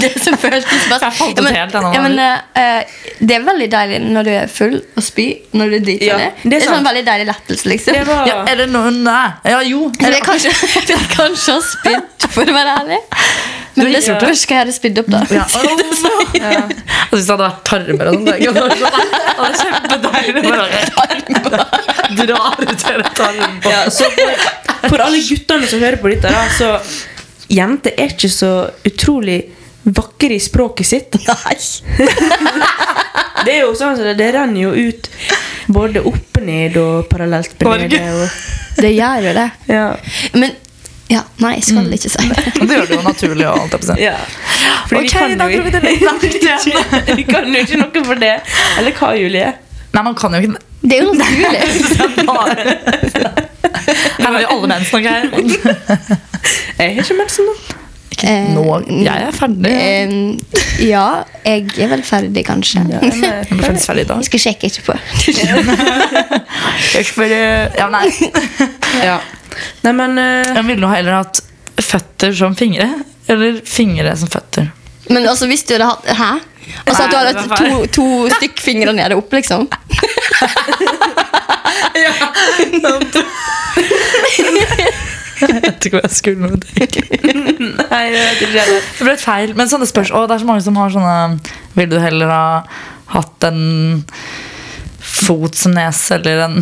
Speaker 4: Det som føltes best.
Speaker 3: Jeg fant ut
Speaker 4: Ja, men-
Speaker 3: helt en annen
Speaker 4: ja, men, eh, eh, det er veldig deilig når du er full og spyr når du driter
Speaker 2: Ja,
Speaker 4: deg.
Speaker 2: det er
Speaker 4: Det er sånn
Speaker 2: sant.
Speaker 4: veldig deilig lettelse, liksom.
Speaker 2: Det var
Speaker 3: Ja, er det noen Nei. Ja, jo.
Speaker 4: Så jeg kanskje, jeg vil kanskje ha spydd, for å være ærlig. Men det spørs hva jeg hadde spydd opp, da.
Speaker 3: Ja. Jeg syns det hadde vært tarmer og sånt. jeg. Det var sånn. Det var kjempedeilig. Bare dra ut hele tarmen. på.
Speaker 2: Ja, så for, for alle guttene som hører på dette, da, så Jenter er ikke så utrolig vakre i språket sitt.
Speaker 4: Nei.
Speaker 2: Det er jo sånn at det, det renner jo ut både opp og ned og parallelt på
Speaker 3: Norge.
Speaker 2: nede. Og,
Speaker 4: Det gjør jo det.
Speaker 2: ja.
Speaker 4: Men ja, nei, jeg skal ikke si det.
Speaker 3: Det gjør det jo naturlig. og alt det på seg.
Speaker 2: Ja. Fordi
Speaker 3: Ok,
Speaker 2: vi kan
Speaker 3: da
Speaker 2: jo
Speaker 3: dro vi det litt langt
Speaker 2: ikke, vi kan jo ikke noe for det. Eller hva, Julie?
Speaker 3: Nei, man kan jo ikke det.
Speaker 4: Det er jo naturlig.
Speaker 3: er bare- Her har jo alle menn snakket her.
Speaker 2: Jeg har ikke mensen nå.
Speaker 4: Eh,
Speaker 3: Nå, Eh, jeg er ferdig. Jeg
Speaker 4: Em, ja, jeg er vel ferdig, kanskje.
Speaker 3: ble
Speaker 2: eh,
Speaker 3: faktisk ferdig i dag.
Speaker 4: Jeg skal sjekke etterpå.
Speaker 3: Jeg spør- Ja, nei.
Speaker 2: Ja. Nei, men eh,
Speaker 3: Jeg ville nå heller hatt føtter som fingre. Eller fingre som føtter.
Speaker 4: Men altså, hvis du hadde hatt Hæ? Altså at du hadde
Speaker 3: Nei,
Speaker 4: hatt to, to stykk fingre nede opp, liksom?
Speaker 3: Jeg vet ikke hva jeg skulle med det.
Speaker 2: Nei, jeg vet ikke heller.
Speaker 3: Det ble et feil, men sånne spørsmål Og det er så mange som har sånne Vil du heller ha hatt en fot som nese Eller en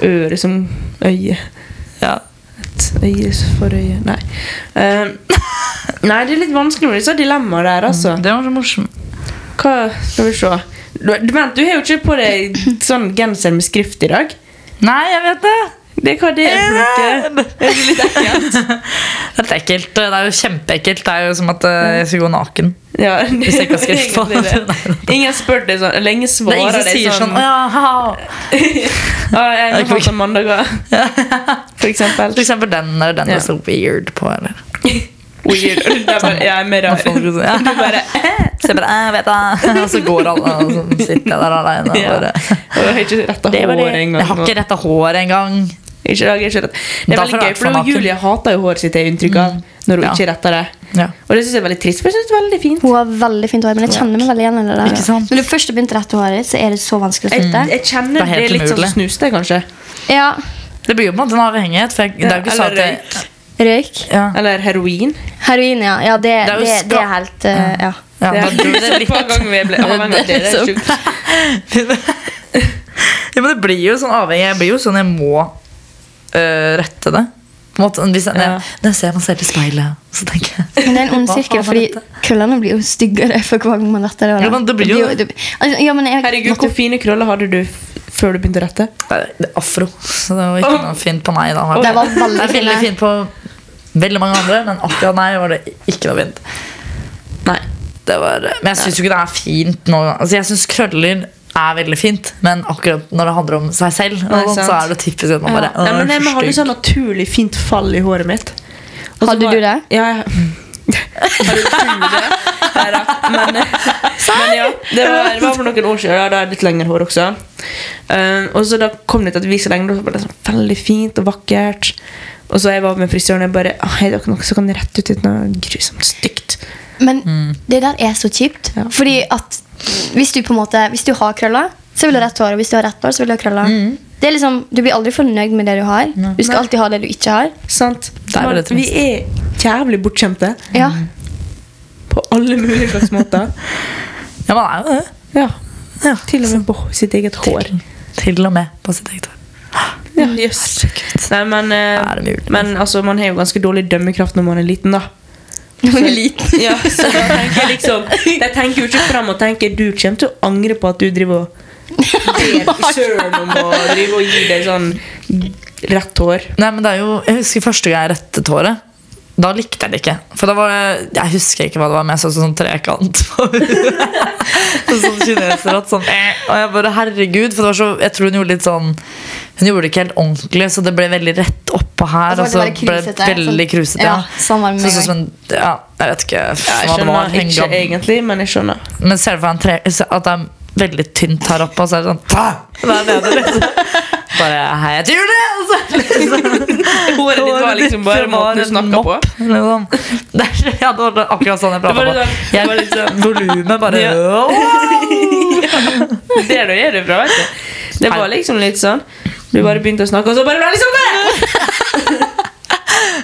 Speaker 2: Øre som øye.
Speaker 3: ja.
Speaker 2: Et øye for øye Nei. Eh, nei, det er litt vanskelig med disse dilemmaene der, altså.
Speaker 3: Det var så morsomt
Speaker 2: Hva Skal vi se. Du, du- vent, du har jo ikke på deg sånn genser med skrift i dag.
Speaker 3: Nei, jeg vet det
Speaker 2: Det er hva det er for noe.
Speaker 3: Det er litt ekkelt Det er litt ekkelt, det er jo kjempeekkelt Det er jo som at eh, jeg skal gå naken
Speaker 2: Ja, det,
Speaker 3: Hvis jeg ikke har skrift på
Speaker 2: egentlig det. Ingen spør deg sånn, eller ingen
Speaker 3: Det er
Speaker 2: svarer
Speaker 3: ingen som
Speaker 2: deg
Speaker 3: sier sånn «Å, ja, ha.
Speaker 2: Ja, jeg har hatt en mandag også. For eksempel.
Speaker 3: For eksempel den eller den
Speaker 2: Ja.
Speaker 3: er så weird på eller.
Speaker 2: Weird. Det er bare, jeg er mer
Speaker 3: Og
Speaker 2: rar.
Speaker 3: folk er sånn, ja.
Speaker 2: Du bare,
Speaker 3: Så jeg bare, jeg vet det Og så går alle og så sitter jeg der alene og
Speaker 2: ja.
Speaker 3: bare,
Speaker 2: Og jeg har ikke retta
Speaker 3: Det var det.
Speaker 2: hår engang.
Speaker 3: Jeg har ikke rettet hår engang.
Speaker 2: Ikke dag, ikke rett. Det er veldig
Speaker 3: Da får det
Speaker 2: gøy,
Speaker 3: vært
Speaker 2: for
Speaker 3: formaten.
Speaker 2: Julie hater jo håret sitt, er inntrykk av, når hun
Speaker 3: Ja. Mm.
Speaker 2: ikke retter det.
Speaker 3: Ja.
Speaker 2: Og det syns jeg er veldig trist, for jeg synes det er veldig fint.
Speaker 4: Hun har veldig fint hår, men jeg kjenner meg veldig igjen i det.
Speaker 3: Ikke
Speaker 4: der.
Speaker 3: sant?
Speaker 4: Når du først har begynt å rette håret, så er det så vanskelig å
Speaker 2: Jeg,
Speaker 4: slutte.
Speaker 2: jeg kjenner
Speaker 3: Det er
Speaker 2: det
Speaker 3: helt
Speaker 2: er, litt sånn
Speaker 3: umulig.
Speaker 2: snuste, kanskje.
Speaker 4: Ja,
Speaker 3: Det blir jo på en måte en avhengighet. For jeg, det er jo ikke sånn at
Speaker 2: Eller
Speaker 3: jeg,
Speaker 2: røyk.
Speaker 4: Røyk.
Speaker 3: ja,
Speaker 2: Eller heroin.
Speaker 4: Heroin, ja. ja det,
Speaker 3: Det er
Speaker 4: det,
Speaker 3: jo
Speaker 4: det,
Speaker 3: skam.
Speaker 4: er helt eh, Ja.
Speaker 2: Det
Speaker 3: ja, da
Speaker 2: er
Speaker 3: blir det
Speaker 2: liksom hver gang vi ble avhengig av det. Det er
Speaker 4: Det er
Speaker 2: sjukt.
Speaker 3: litt- ja, men det blir jo sånn avhengig. Jeg blir jo sånn jeg må øh, rette det. På en måte, hvis jeg,
Speaker 2: Ja.
Speaker 3: når jeg ser meg selv i speilet, så tenker jeg
Speaker 4: Men det er en ond
Speaker 3: Hva faen
Speaker 4: sirkel,
Speaker 3: var
Speaker 4: fordi
Speaker 3: dette?
Speaker 4: krøllene blir jo styggere for hver gang man retter det.
Speaker 3: Ja, men det blir jo
Speaker 4: det. Altså, ja, men jeg,
Speaker 2: Herregud, hvor fine krøller hadde du f- før du begynte å rette?
Speaker 3: Det er- det er afro, så det var ikke noe fint på meg da.
Speaker 4: Det var veldig
Speaker 3: det er veldig
Speaker 4: fine.
Speaker 3: fint på veldig mange andre, men akkurat meg var det ikke noe fint.
Speaker 2: Nei.
Speaker 3: det var, eh, men jeg syns jo ikke det er fint nå. Altså, jeg syns krøller er veldig fint, men akkurat når det handler om seg selv,
Speaker 2: Nei,
Speaker 3: og sånt, så
Speaker 2: sant.
Speaker 3: er det typisk at man bare
Speaker 2: Nei, men jeg hadde sånn naturlig fint fall i håret mitt. Og så
Speaker 4: Hadde
Speaker 2: var-
Speaker 4: du det?
Speaker 2: Ja, jeg Hadde du det? Nei da. Men, eh, men ja, det var, det var for noen år siden. Da, da hadde jeg litt lengre hår også. Eh, og så da kom det til at vi så lenge, da var det sånn veldig fint og vakkert. Og så jeg var med frisøren og jeg bare «Åh, Hei, dere noe som kan rette ut litt noe grusomt stygt.
Speaker 4: Men det der er så kjipt.
Speaker 2: Ja.
Speaker 4: Fordi at hvis du på en måte Hvis du har krøller, så vil du ha rett hår. Og hvis du har rett hår, så vil du ha krøller. Det er liksom, du blir aldri fornøyd med det du har. Du skal alltid ha det du ikke har.
Speaker 2: Mm. Sant?
Speaker 3: er veldig
Speaker 2: vi er jævlig bortskjemte
Speaker 4: Ja.
Speaker 2: på alle mulige slags måter.
Speaker 3: Ja, man er jo det.
Speaker 2: Ja.
Speaker 3: Ja.
Speaker 2: Til og med på sitt eget hår.
Speaker 3: Til, til og med på sitt eget hår.
Speaker 2: Ja, jøss. Mm, Nei, men, eh,
Speaker 3: Er det mulig?
Speaker 2: men altså, man har jo ganske dårlig dømmekraft når man er liten, da.
Speaker 4: Når man er liten.
Speaker 2: Ja, så da tenker jeg liksom De tenker jo ikke fram og tenker du kommer til å angre på at du driver og ber i søren om å drive og gi deg sånn rett hår.
Speaker 3: Nei, men det er jo, Jeg husker første gang jeg rettet håret. Da likte jeg det ikke. For da var det, Jeg husker ikke hva det var, men jeg så sånn trekant på huet. sånn kineserhatt. Sånn, eh. Og jeg bare herregud. For det var så, jeg tror hun gjorde litt sånn Hun gjorde det ikke helt ordentlig, så det ble veldig rett oppå her.
Speaker 4: Og
Speaker 3: Og så
Speaker 4: så ble Altså, det
Speaker 3: ble
Speaker 4: veldig
Speaker 3: det
Speaker 4: krusete,
Speaker 3: veldig krusete.
Speaker 4: sånn- ja,
Speaker 3: Ja,
Speaker 4: sånn var det med
Speaker 3: Så-
Speaker 4: en
Speaker 3: så- sånn- ja, jeg vet ikke
Speaker 2: Jeg
Speaker 3: hva det var.
Speaker 2: skjønner ikke
Speaker 3: hengam.
Speaker 2: egentlig, men jeg skjønner.
Speaker 3: Men ser du for deg en tre- så at det er veldig tynt her oppe, og så er det sånn «Ta!» Der nede, liksom. Bare Hei, jeg heter Julie! Og så
Speaker 2: Håret ditt var liksom bare måten du snakket på.
Speaker 3: Liksom. Det er, ja, det var akkurat sånn jeg
Speaker 2: Det var litt
Speaker 3: pratet på.
Speaker 2: sånn- det var
Speaker 3: Jeg,
Speaker 2: litt sånn-
Speaker 3: volumet bare
Speaker 2: Ja. Det er det, det er det bra, vet du. Det var liksom litt sånn. Du bare begynte å snakke, og så bare ble det liksom det!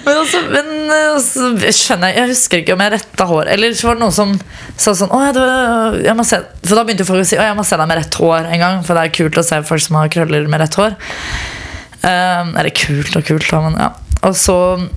Speaker 3: Men, altså, men eh, så skjønner jeg Jeg husker ikke om jeg retta hår. Eller så var det noen som sa sånn Å, ja, du, jeg må se. For da begynte jo folk å si Å, jeg må se deg med rett hår en gang. For det er kult å se folk som har krøller med rett hår. Um, eller kult og kult, da, men ja. Og så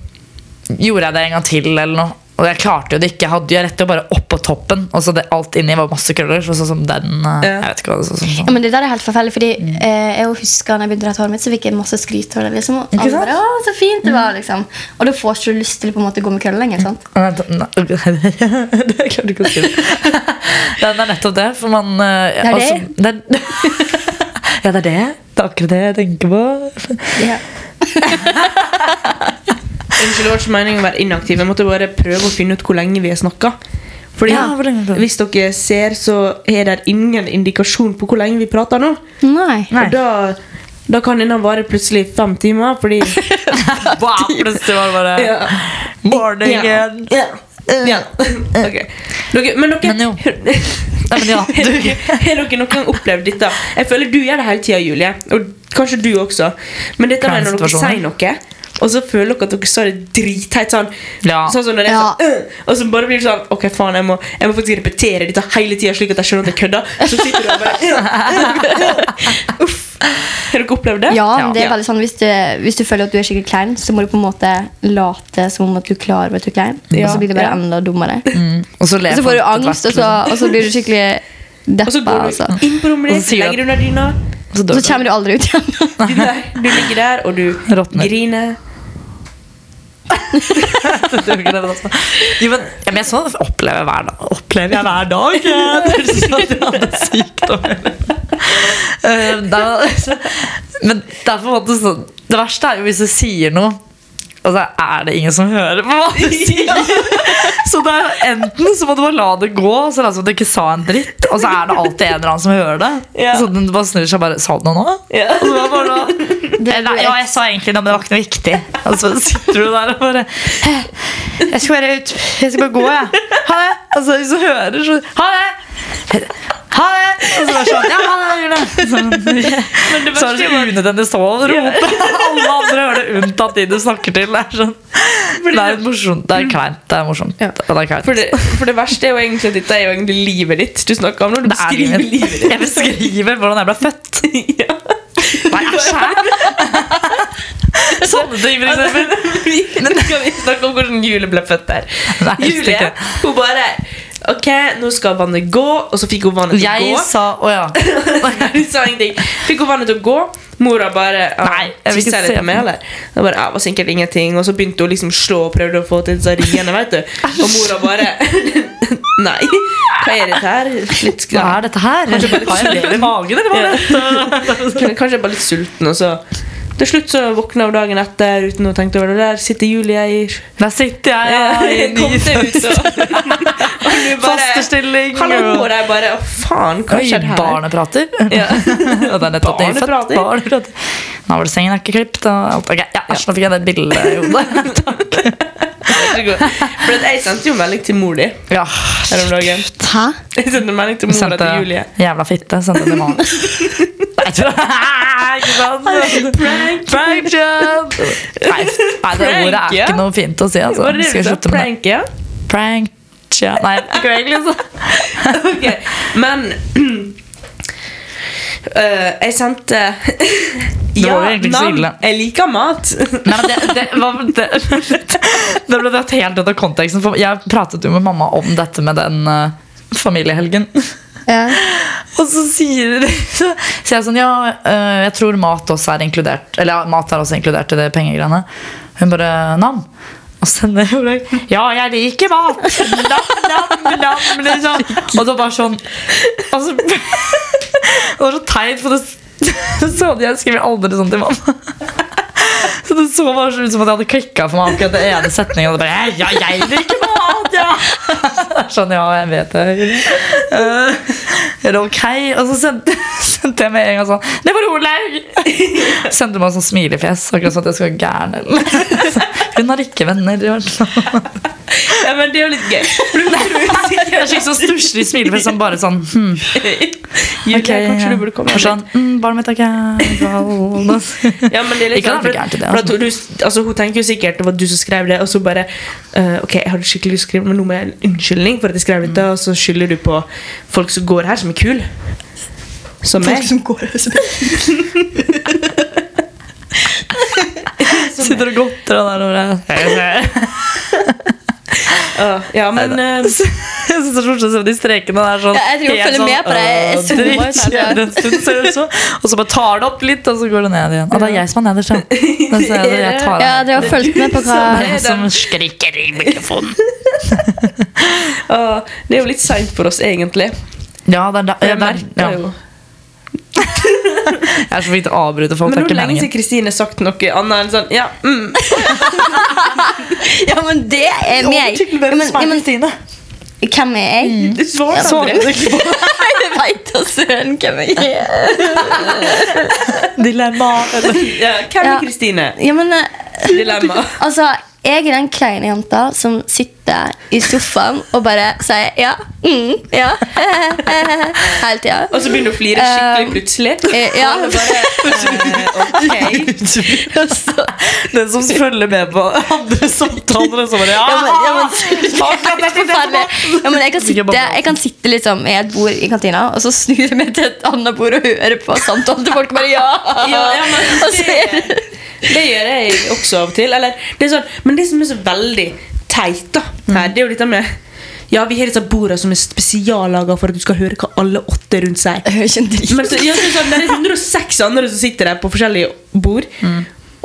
Speaker 3: gjorde jeg det en gang til eller noe. Og jeg klarte jo det ikke. Jeg, hadde, jeg rette jo bare opp på toppen, og så det, alt inni var masse krøller. Så sånn som den eh,
Speaker 2: Ja.
Speaker 3: Jeg vet ikke hva det så, sånn,
Speaker 4: Ja,
Speaker 3: sånn.
Speaker 4: men det der er helt forferdelig, fordi eh, jeg husker når jeg begynte å rette håret mitt, så fikk jeg masse skryt for det. liksom. Og
Speaker 3: Ikke
Speaker 4: alle
Speaker 3: sant?
Speaker 4: bare, «Å, så fint det var, liksom. Og da får ikke du lyst til å på en måte gå med krøller lenger. sant?
Speaker 3: Nei, da- nei, ok, det klarte jeg ikke å si. Det er nettopp det, for man Det
Speaker 4: er
Speaker 3: det er, ja, det er det. Det er akkurat det jeg tenker på.
Speaker 4: Ja.
Speaker 2: Unnskyld, det var ikke meningen å være inaktiv. Jeg måtte bare prøve å finne ut hvor lenge vi har snakka. Fordi
Speaker 3: Ja, hvor lenge har vi
Speaker 2: Hvis
Speaker 3: pratet?
Speaker 2: dere ser, så er det ingen indikasjon på hvor lenge vi prater nå.
Speaker 4: Nei.
Speaker 3: Nei.
Speaker 2: Og da, da kan denne vare plutselig fem timer, fordi
Speaker 3: Wow, plutselig var det bare
Speaker 2: Ja.
Speaker 3: Morning again.
Speaker 2: Ja. Ja. Ok. Dere, men dere
Speaker 3: Men jo. Nei, men ja,
Speaker 2: Har
Speaker 3: du,
Speaker 2: dere har dere noen gang opplevd dette? Jeg føler du gjør det hele tida, Julie. Og kanskje du også. Men dette med
Speaker 3: Kleine
Speaker 2: når dere
Speaker 3: situasjoner.
Speaker 2: sier noe, og så føler dere at dere sa det dritteit sånn.
Speaker 3: Ja.
Speaker 2: Sånn som når det er
Speaker 4: Ja.
Speaker 2: sånn øh, Og så bare blir det sånn Ok, faen, jeg må, jeg må faktisk repetere dette hele tida, slik at jeg skjønner at jeg kødder. Så sitter du og bare øh, øh, øh. Uff. Har dere opplevd det?
Speaker 4: Ja, men det er
Speaker 2: Ja.
Speaker 4: veldig sånn, hvis du, hvis du føler at du er skikkelig klein, så må du på en måte late som om at du er klar over at du er klein. Og
Speaker 2: Ja.
Speaker 4: så blir det bare
Speaker 2: Ja.
Speaker 4: enda dummere.
Speaker 3: mm, Og så ler
Speaker 4: Og så får
Speaker 3: folk
Speaker 4: du
Speaker 3: etter
Speaker 4: angst,
Speaker 3: hvert, liksom. Mm.
Speaker 4: og så, og så blir du skikkelig
Speaker 2: Og så
Speaker 4: deppa.
Speaker 2: går
Speaker 4: Altså.
Speaker 2: du inn på rommet
Speaker 3: Og så
Speaker 2: ditt,
Speaker 3: Sånn sier du at-
Speaker 2: legger deg under dyna,
Speaker 3: liksom. Så
Speaker 4: Og
Speaker 3: dør
Speaker 4: så kommer du aldri ut igjen.
Speaker 2: du, nei, du ligger der, og du
Speaker 3: Råtner.
Speaker 2: griner.
Speaker 3: du. Jo, men, ja, men jeg så opplever hver dag. Opplever jeg hver dag? ja. Det er sånn at jeg hadde sykdom. Eh, det er- Men det er på en måte sånn Det verste er jo hvis du sier noe, og så er det ingen som hører på hva du sier. Så det er enten så må du bare la det gå, og så late som du ikke sa en dritt, og så er det alltid en eller annen som hører det.
Speaker 2: Ja.
Speaker 3: Så den bare snur seg og bare Sa du noe nå?
Speaker 2: Ja.
Speaker 3: Og så var det bare da, Nei, ja, jeg sa egentlig noe, men det var ikke noe viktig. Og så sitter du der og bare Jeg skal bare ut. Jeg skal bare gå, jeg. Ha det. Og så, så hører du sånn Ha det! Ha det! Og så bare sånn Ja, ha det, Julie. Sånn. Så er det så unødvendig å stå og rope. Alle andre hører det unntatt de du snakker til. Det er sånn Det er morsomt. Det er kleint. Det er morsomt.
Speaker 2: Ja.
Speaker 3: Og det er kleint.
Speaker 2: For det, for det verste er jo egentlig at dette er jo egentlig livet ditt du snakker om når du
Speaker 3: Det er
Speaker 2: beskriver livet
Speaker 3: livet. Jeg beskriver hvordan jeg ble født.
Speaker 2: ditt. ja.
Speaker 3: Nei, æsj, hæ? Sånne ting, for eksempel.
Speaker 2: Vi nå skal Altså, vi snakke om hvordan Julie ble født der.
Speaker 3: Nei, jeg husker
Speaker 2: Julie,
Speaker 3: ikke.
Speaker 2: hun bare Ok, nå skal vannet gå, og så fikk hun vannet til å
Speaker 3: Jeg
Speaker 2: gå.
Speaker 3: sa Å ja.
Speaker 2: Hun sa ingenting. Fikk hun vannet til å gå. Mora bare ja,
Speaker 3: Nei, jeg vil ikke
Speaker 2: tisset
Speaker 3: se
Speaker 2: litt på
Speaker 3: på
Speaker 2: meg,
Speaker 3: den.
Speaker 2: eller? Det bare, ja, var sikkert ingenting Og så begynte hun liksom å slå og prøvde å få til disse riene, vet du. Og mora bare Nei, hva er dette her? Litt
Speaker 3: Hva er dette her? Har jeg det i magen, eller hva?
Speaker 2: Men Kanskje jeg bare litt sulten, og så Til slutt så våkna hun dagen etter uten å tenke over det. Der sitter Julie i
Speaker 3: Der sitter jeg i
Speaker 2: Kom
Speaker 3: ny
Speaker 2: deg ut, og Og du bare
Speaker 3: fosterstilling.
Speaker 2: Hallo, og de bare Å, faen, hva
Speaker 3: Oi,
Speaker 2: skjedde her?
Speaker 3: barnet prater.
Speaker 2: Ja.
Speaker 3: Og det er nettopp det jeg er født.
Speaker 2: Barnet prater.
Speaker 3: Barnet prater. Navlesengen er ikke klippet. Og alt. Ok, ja, æsj, nå fikk jeg det bildet i hodet.
Speaker 2: For at jeg sendte jo melding til mor di
Speaker 3: Ja,
Speaker 2: her om dagen.
Speaker 4: Hæ?
Speaker 2: Jeg sendte melding til mora
Speaker 3: sendte
Speaker 2: til Julie.
Speaker 3: jævla fitte. Sendte det til mannen. Nei, tror jeg Ikke sant?
Speaker 2: Prank!
Speaker 3: Prank job! Nei, nei, det
Speaker 2: Prank,
Speaker 3: ordet er
Speaker 2: ja.
Speaker 3: ikke noe fint å si. Altså.
Speaker 2: Var det det
Speaker 3: Skal
Speaker 2: vi
Speaker 3: jeg
Speaker 2: sa?
Speaker 3: slutte med det?
Speaker 2: Prank, liksom. ja?
Speaker 3: Prank job. Nei, ikke egentlig. så-
Speaker 2: Ok, Men øh, Jeg sendte
Speaker 3: Det var jo egentlig ikke så ille.
Speaker 2: Jeg liker mat.
Speaker 3: Nei, men det, det, hva- det, det ble dratt helt ut av konteksten. For jeg pratet jo med mamma om dette med den eh, familiehelgen.
Speaker 4: Ja.
Speaker 3: Og så sier de så sier jeg sånn Ja, eh, jeg tror mat også er inkludert. Eller ja, mat er også inkludert i det pengegreiene. Hun bare Nam. Og så sender jeg henne Ja, jeg liker mat! Nam, nam, nam, liksom. Og så bare sånn Og så Det var så teit, for det så hadde jeg skrevet aldri sånn til mamma. Så det så bare så ut som at jeg hadde klikka for meg akkurat den ene setningen. Og det bare, ja, jeg liker mat, ja! Sånn, ja, jeg vet det. Eh, er det ok? Og så sendte, sendte jeg med en gang sånn Det var Olaug! Sendte meg sånn smilefjes, akkurat sånn at jeg skal være gæren. eller noe. Hun har ikke venner. i hvert fall.
Speaker 2: Ja, men det er jo litt gøy.
Speaker 3: Det er slik sånn stusslig smilefjes som bare sånn hm,
Speaker 2: Julie,
Speaker 3: ok,
Speaker 2: kanskje du burde komme
Speaker 3: Og sånn, mm, Barnet mitt er gæren.
Speaker 2: Ja, men det er litt sånn,
Speaker 3: Ikke at det er
Speaker 2: for,
Speaker 3: gærent i det,
Speaker 2: for at hun, altså, hun tenker jo sikkert det var du som skrev det, og så bare eh, Ok, jeg hadde skikkelig lyst til å skrive, men nå må jeg ha en unnskyldning for at jeg skrev dette, og så skylder du på folk som går her, som er kul Som meg.
Speaker 5: som går og
Speaker 3: Sitter og godter og der over
Speaker 2: Ja, ja, men
Speaker 3: ehm,
Speaker 2: eh,
Speaker 3: Jeg synes det er så morsomt å se de strekene der sånn,
Speaker 4: Ja, jeg tror jeg
Speaker 3: helt
Speaker 4: følger med på det. Jeg
Speaker 3: øh,
Speaker 4: zoomer ut her,
Speaker 3: drittkjedelig en stund, ser det ut som. Og så bare tar det opp litt, og så går det ned igjen. Og det er jeg som er nederst, ja. Men så er det jeg tar
Speaker 4: Ja,
Speaker 3: av.
Speaker 4: dere har fulgt med på hva
Speaker 3: Det er jeg som skriker i mikrofonen.
Speaker 2: ah, det er jo litt seint for oss, egentlig.
Speaker 3: Ja, det er da, ja,
Speaker 2: Jeg
Speaker 3: det er,
Speaker 2: merker
Speaker 3: ja.
Speaker 2: jo.
Speaker 3: Jeg er så flink til å avbryte folk.
Speaker 2: Men
Speaker 3: Det
Speaker 2: nå er det
Speaker 3: er ikke
Speaker 2: lenge
Speaker 3: meningen.
Speaker 2: siden Kristine har sagt noe annet enn sånn Ja, mm.
Speaker 4: Ja, men det er meg. Ja, men, ja, men, hvem er
Speaker 3: Mm.
Speaker 4: jeg?
Speaker 2: Du svarte aldri.
Speaker 4: Jeg veit da søren hvem jeg er.
Speaker 3: Dilemma.
Speaker 2: Ja, hvem
Speaker 4: Ja.
Speaker 2: er Kristine?
Speaker 4: Ja, men eh,
Speaker 2: Dilemma.
Speaker 4: Altså, jeg er den kleine jenta som sitter i sofaen og bare sier ja, mm, ja, hele tida.
Speaker 2: Og så begynner hun å flire skikkelig plutselig.
Speaker 4: Eh, ja.
Speaker 2: Og alle bare, eh, ok.
Speaker 4: Og så-
Speaker 3: Den som følger med på andre samtaler, så bare «Ah!»
Speaker 4: Ja, men, ja,
Speaker 3: ja,
Speaker 4: men, helt forferdelig. Ja, men jeg, kan sitte, jeg kan sitte liksom i et bord i kantina, og så snur jeg meg til et annet bord og hører på samtalen til folk. og Bare ja,
Speaker 2: Ja, ja, men
Speaker 4: Og så er det-
Speaker 2: Det gjør jeg også av og til. Eller, det er sånn, men det som er så veldig teit, da, her, det er jo dette med Ja, vi har disse borda som er spesiallaga for at du skal høre hva alle åtte rundt sier.
Speaker 4: Jeg hører ikke en dritt.
Speaker 2: Men så, ja, så, er det sånn, det er 106 andre som sitter der på forskjellige bord,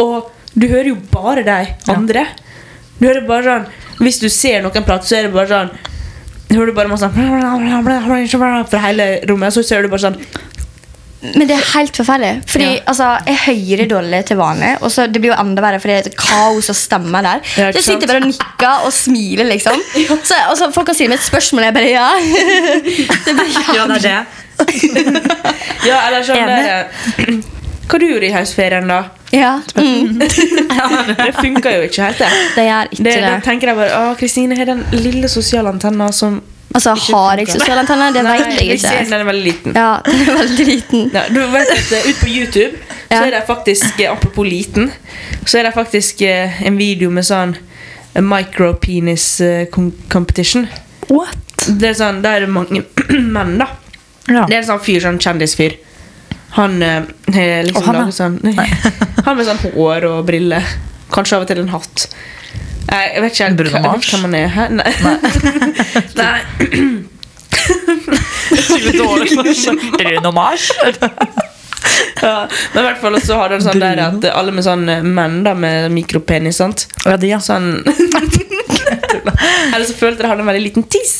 Speaker 2: og du hører jo bare de andre. Du hører bare sånn Hvis du ser noen prate, så er det bare sånn du hører bare masse sånn fra hele rommet, og så ser du bare sånn
Speaker 4: Men det er helt forferdelig. Fordi
Speaker 2: Ja.
Speaker 4: altså, Jeg hører dårlig til vanlig, og så det blir jo enda verre, for det er et kaos og stemmer der.
Speaker 2: Ja, ikke
Speaker 4: jeg sitter
Speaker 2: sant?
Speaker 4: bare og nikker og smiler, liksom. Så, og så Folk kan stille meg et spørsmål, og jeg bare ja. Det blir
Speaker 2: Ja, det er det. ja, eller sånn der, Hva du gjorde i høstferien, da?
Speaker 4: ja. Mm,
Speaker 2: Det funka jo ikke helt, det.
Speaker 4: det
Speaker 2: det,
Speaker 4: gjør ikke
Speaker 2: Da
Speaker 4: det.
Speaker 2: tenker jeg bare Å, Kristine har den lille sosiale antenna som
Speaker 4: Altså, Har jeg sosiale antenner? Det
Speaker 2: Nei,
Speaker 4: vet jeg
Speaker 2: jeg ser
Speaker 4: ikke.
Speaker 2: den er veldig liten.
Speaker 4: Ja, Den er veldig liten.
Speaker 2: Nei, du vet at eh, ut på YouTube så
Speaker 4: Ja.
Speaker 2: er det faktisk eh, Apropos liten, så er det faktisk eh, en video med sånn eh, micropenis eh, com- competition.
Speaker 3: What?
Speaker 2: Det er sånn, Der er det mange menn, da.
Speaker 3: Ja.
Speaker 2: Det er en sånn fyr, sånn kjendisfyr. Han eh, har liksom
Speaker 3: Og han, ja.
Speaker 2: laget sånn Han med sånn hår og briller. Kanskje av og til en hatt. Nei, Jeg vet ikke helt
Speaker 3: Bruno
Speaker 2: hva- jeg vet
Speaker 3: Mars?
Speaker 2: ikke hvem han er. Hæ? Nei. Nei.
Speaker 3: Skikkelig dårlig for Bruno Mars.
Speaker 2: Ja. Men i hvert fall så har han sånn der at eh, alle med sånn eh, menn da med mikropenis, sant
Speaker 3: Ja, de, ja.
Speaker 2: Sånn Eller så følte jeg han hadde en veldig liten tiss.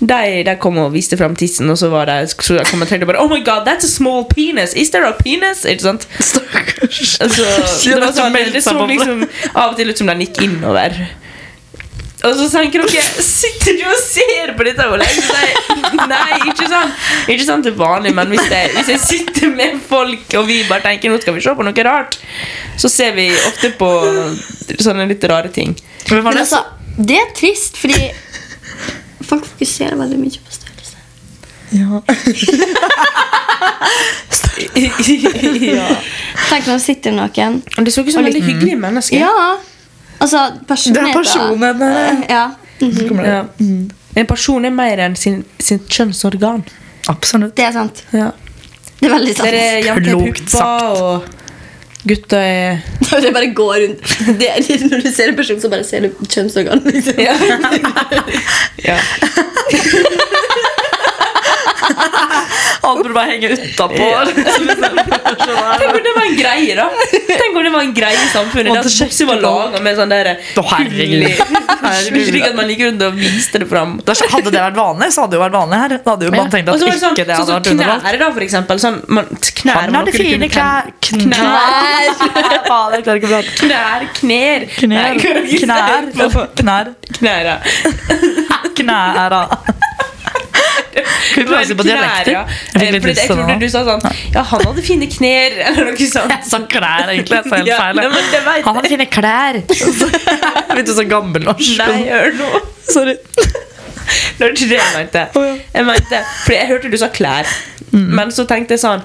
Speaker 2: De, de kom og viste fram tissen, og så var det, så jeg kommenterte bare Oh my god, that's a small penis! Is there a penis? Ikke sant?
Speaker 3: Stakkars.
Speaker 2: Altså,
Speaker 3: Ja,
Speaker 2: det, var
Speaker 3: det er så
Speaker 2: sånn,
Speaker 3: meldt
Speaker 2: det så
Speaker 3: sammen.
Speaker 2: liksom av og til ut som den gikk innover. Og så tenker dere Sitter du og ser på dette? Ole? Så sier jeg, Nei, ikke sånn Ikke sånn til vanlig, men hvis jeg, hvis jeg sitter med folk og vi bare tenker nå skal vi se på noe rart, så ser vi ofte på sånne litt rare ting.
Speaker 3: Hvem var
Speaker 4: Men
Speaker 3: det?
Speaker 4: altså, det er trist, fordi folk fokuserer veldig mye på størrelse. Tenk når det sitter noen
Speaker 2: Og Det så ikke som veldig hyggelige mennesker.
Speaker 4: Ja! Altså, personligheter. Ja.
Speaker 2: Ja. En person er mer enn sin, sitt kjønnsorgan.
Speaker 3: Absolutt.
Speaker 4: Det er sant.
Speaker 2: Ja.
Speaker 4: Det er veldig sant.
Speaker 2: Dere
Speaker 4: Det,
Speaker 2: er jenter er
Speaker 3: Klokt sagt.
Speaker 2: pupper, og gutter er
Speaker 4: bare går rundt. Det, det, når du ser en person, så bare ser du kjønnsorgan. Liksom.
Speaker 2: ja.
Speaker 3: Å, Alt burde bare henge utapå.
Speaker 2: Tenk om det var en greie, da! Tenk om det var en greie i samfunnet. Der
Speaker 3: Måtte
Speaker 2: bukser var
Speaker 3: sjekke
Speaker 2: laga med sånn der
Speaker 3: Å, herregud. Herregud.
Speaker 2: Slik at man like rundt og viste det fram.
Speaker 3: Det er så- Altså, Hadde det vært vanlig, så hadde det jo vært vanlig her. Da hadde jo man tenkt
Speaker 2: Og
Speaker 3: at
Speaker 2: så var det sånn,
Speaker 3: ikke det
Speaker 2: sånn
Speaker 3: hadde
Speaker 2: som
Speaker 3: vært underholdt.
Speaker 2: knær, da, for eksempel. Sånn, man, knær,
Speaker 3: Han
Speaker 2: man
Speaker 3: hadde
Speaker 2: kunne
Speaker 3: fine
Speaker 2: kunne-
Speaker 3: knær. Knær. Faen, jeg klarer ikke å prate.
Speaker 2: Knær, kner Nei, jeg kan
Speaker 3: Knær.
Speaker 2: ikke
Speaker 3: Knær.
Speaker 2: se på-
Speaker 3: Knær.
Speaker 2: Knær, ja.
Speaker 3: Knæra. Kunne du lese på dialekter?
Speaker 2: ja.
Speaker 3: Jeg fikk
Speaker 2: Eh,
Speaker 3: litt
Speaker 2: fordi
Speaker 3: lyst
Speaker 2: Jeg
Speaker 3: til det
Speaker 2: trodde
Speaker 3: nå.
Speaker 2: du sa sånn Ja, han hadde fine kner, eller noe sånt.
Speaker 3: Jeg sa knær, egentlig. Jeg sa helt
Speaker 2: Ja,
Speaker 3: feil.
Speaker 2: nei, men det vet
Speaker 3: Han hadde fine klær. Litt sånn gammelnorsk.
Speaker 2: Nei, hør nå.
Speaker 3: Sorry.
Speaker 2: Det var ikke det jeg mente.
Speaker 3: Å, ja. Mm.
Speaker 2: Jeg mente Fordi jeg hørte du sa klær. Men så tenkte jeg sånn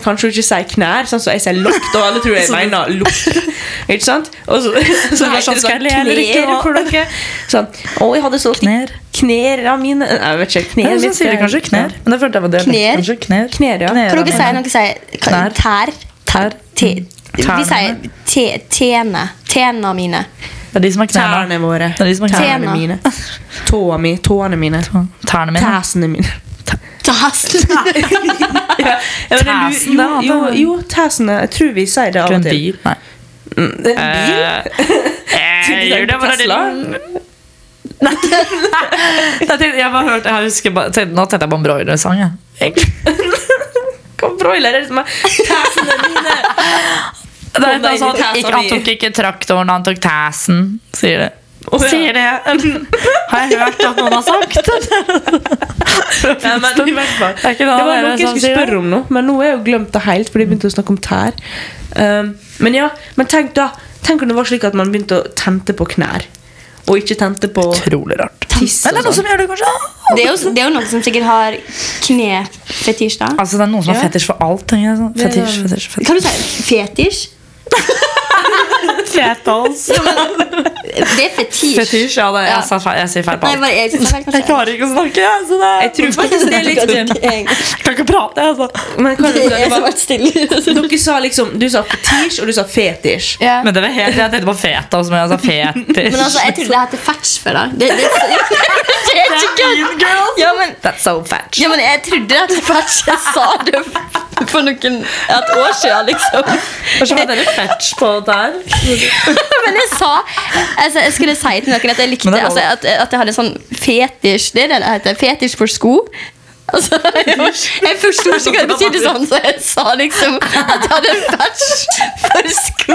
Speaker 2: Kanskje du ikke sier knær, sånn så jeg sier lukt, og alle tror jeg
Speaker 3: Så-
Speaker 2: mener lukt. Ikke sant? Og så, så
Speaker 3: det var sånn,
Speaker 2: heter det
Speaker 3: skal jeg le eller ikke?
Speaker 2: knær for dere. Sånn Å, jeg hadde så
Speaker 3: Knær.
Speaker 2: Knærne mine Nei, Jeg vet ikke. Kner
Speaker 3: Ja, sånn
Speaker 2: litt-
Speaker 3: sier de kanskje knær. Men det følte jeg var dialekt.
Speaker 4: Knær.
Speaker 3: Kanskje knær.
Speaker 2: Knær, ja.
Speaker 3: Knæra
Speaker 4: Kan dere si
Speaker 3: mine.
Speaker 4: noe sier
Speaker 3: Knær.
Speaker 4: Tær.
Speaker 3: Tær.
Speaker 4: Te- Vi
Speaker 3: Tærne.
Speaker 4: sier te- tene. Tena mine.
Speaker 3: Det er de som har knærne.
Speaker 2: Tærne våre.
Speaker 3: Det er de som har knærne.
Speaker 4: Tena.
Speaker 2: mine. Tåa mi. Tåene mine.
Speaker 3: Tærne mine.
Speaker 2: Tæsene mine.
Speaker 4: Tasen.
Speaker 2: Ja, ja, men det lu-
Speaker 3: Tæsene, da,
Speaker 2: jo, jo,
Speaker 3: da.
Speaker 2: jo, tæsene. Jeg tror vi sier det av
Speaker 3: Grønn
Speaker 2: og til.
Speaker 3: bil. Nei.
Speaker 2: Mm, det er En bil?
Speaker 3: Eh,
Speaker 2: Tenker du på Tesla?
Speaker 3: Nei, tenk- jeg bare hørte, jeg husker bare, tenk, Nå tenkte jeg på en broilersang. jeg.
Speaker 2: Hva broiler er det som er Tæsene mine!
Speaker 3: Nei,
Speaker 2: Kom deg
Speaker 3: det er
Speaker 2: inn i
Speaker 3: sånn,
Speaker 2: tæsa
Speaker 3: ikke, han
Speaker 2: mi.
Speaker 3: tok ikke traktoren, han tok tæsen, sier det.
Speaker 2: Å, ja.
Speaker 3: Sier det. Har jeg hørt at noen har sagt det?
Speaker 2: Nei, men i hvert fall
Speaker 3: Det er ikke noe
Speaker 2: Det var
Speaker 3: annet
Speaker 2: noe jeg
Speaker 3: som
Speaker 2: skulle
Speaker 3: sier det.
Speaker 2: spørre om nå, men nå har jeg jo glemt det helt. Fordi jeg begynte å snakke om tær um, Men ja, men tenk da Tenk om det var slik at man begynte å tente på knær. Og ikke tente på
Speaker 3: Utrolig rart.
Speaker 2: tiss
Speaker 3: Men det
Speaker 2: og
Speaker 3: er noen
Speaker 2: sånn.
Speaker 3: som gjør det, kanskje?
Speaker 4: Det er jo, det er jo noen som sikkert har knefetisj, da.
Speaker 3: Altså, det er noen som har
Speaker 2: Ja.
Speaker 3: fetisj for alt. tenker jeg sånn. Fetisj, fetisj, fetisj.
Speaker 4: Kan du si fetisj? Det er fetisj.
Speaker 3: Fetisj, ja, det,
Speaker 4: Ja.
Speaker 3: jeg, sa feil, jeg sier feil på
Speaker 4: Nei,
Speaker 3: alt.
Speaker 4: bare jeg synes det er
Speaker 3: Jeg
Speaker 4: feil, kanskje.
Speaker 3: klarer ikke å snakke, jeg. Så det er,
Speaker 2: Jeg tror faktisk det er litt
Speaker 4: Jeg
Speaker 3: jeg kan ikke prate, jeg. Altså.
Speaker 2: Men hva er det, det
Speaker 4: som har
Speaker 2: var,
Speaker 4: vært stille.
Speaker 2: Dere sa liksom Du sa fetisj, og du sa fetisj.
Speaker 4: Ja.
Speaker 3: Men det var helt, jeg tenkte på feta, som jeg sa fetisj.
Speaker 4: Men altså, jeg trodde det het fetch før, da. Det, det, det er ikke kødd! Ja, men,
Speaker 3: That's so fetch.
Speaker 4: ja, men jeg trodde det het fetch. Jeg sa det f- for noen, et år siden, liksom.
Speaker 3: Kanskje var dere fetch på det her?
Speaker 4: Men jeg sa altså, Jeg skulle si til noen at jeg likte
Speaker 3: Men det er lov.
Speaker 4: altså, at, at jeg hadde sånn fetisj Det er det det heter. Fetisj for sko. Altså, jeg jeg forsto ikke hva det betydde, sånn, så jeg sa liksom at jeg hadde en fetch for sko.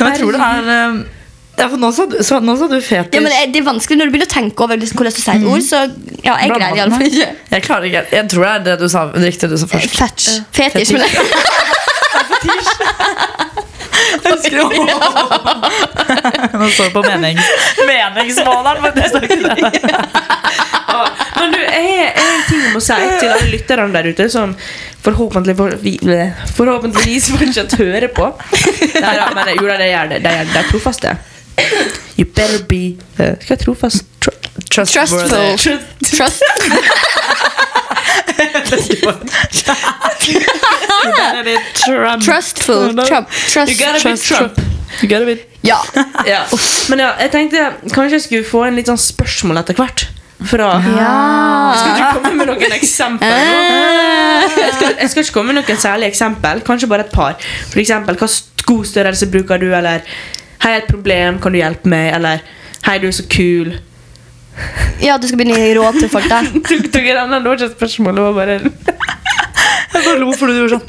Speaker 3: Men jeg tror det er eh, ja, for nå, sa du, så, nå sa du fetisj.
Speaker 4: Ja, men det- Det er vanskelig når du begynner å tenke over liksom, hvordan du sier et ord. Så ja, jeg
Speaker 3: Blander
Speaker 4: greier
Speaker 3: man
Speaker 4: iallfall
Speaker 3: det?
Speaker 4: ikke.
Speaker 3: Jeg klarer ikke Jeg tror det er det du sa, det riktige du sa først.
Speaker 4: Fetch. Fetisj. Men
Speaker 3: Jeg husker jo Nå står det på menings, meningsmåleren, men det står ikke det.
Speaker 2: Men du, jeg har jeg har en ting jeg må si til alle lytterne der ute som forhåpentlig for, vi- bleh, forhåpentligvis fortsatt hører på. Nei, da, men jo da, de gjør det. De er, de er trofaste. You better be eh, Skal jeg trofast tro,
Speaker 4: Trustful.
Speaker 2: tro-
Speaker 4: Trust. Trustful. Trump.
Speaker 2: You
Speaker 4: Trust.
Speaker 2: gotta be
Speaker 3: Trust Trump.
Speaker 2: Trump.
Speaker 3: You gotta be
Speaker 4: Ja.
Speaker 2: Ja. Men ja, jeg tenkte kanskje jeg skulle få en litt sånn spørsmål etter hvert. Fra Skal ikke komme med noen eksempler nå.
Speaker 4: Eh.
Speaker 2: Jeg skal, jeg skal ikke komme med noen særlige eksempel Kanskje bare et par For eksempel, hva skostørrelse bruker du Eller, hei, et problem, kan du hjelpe meg Eller, hei, du er så kul
Speaker 4: ja, du skal begynne å gi råd til folk, da.
Speaker 2: Tok tok jeg den, det var ikke et spørsmål Det var bare
Speaker 3: Jeg bare lo fordi du gjorde sånn.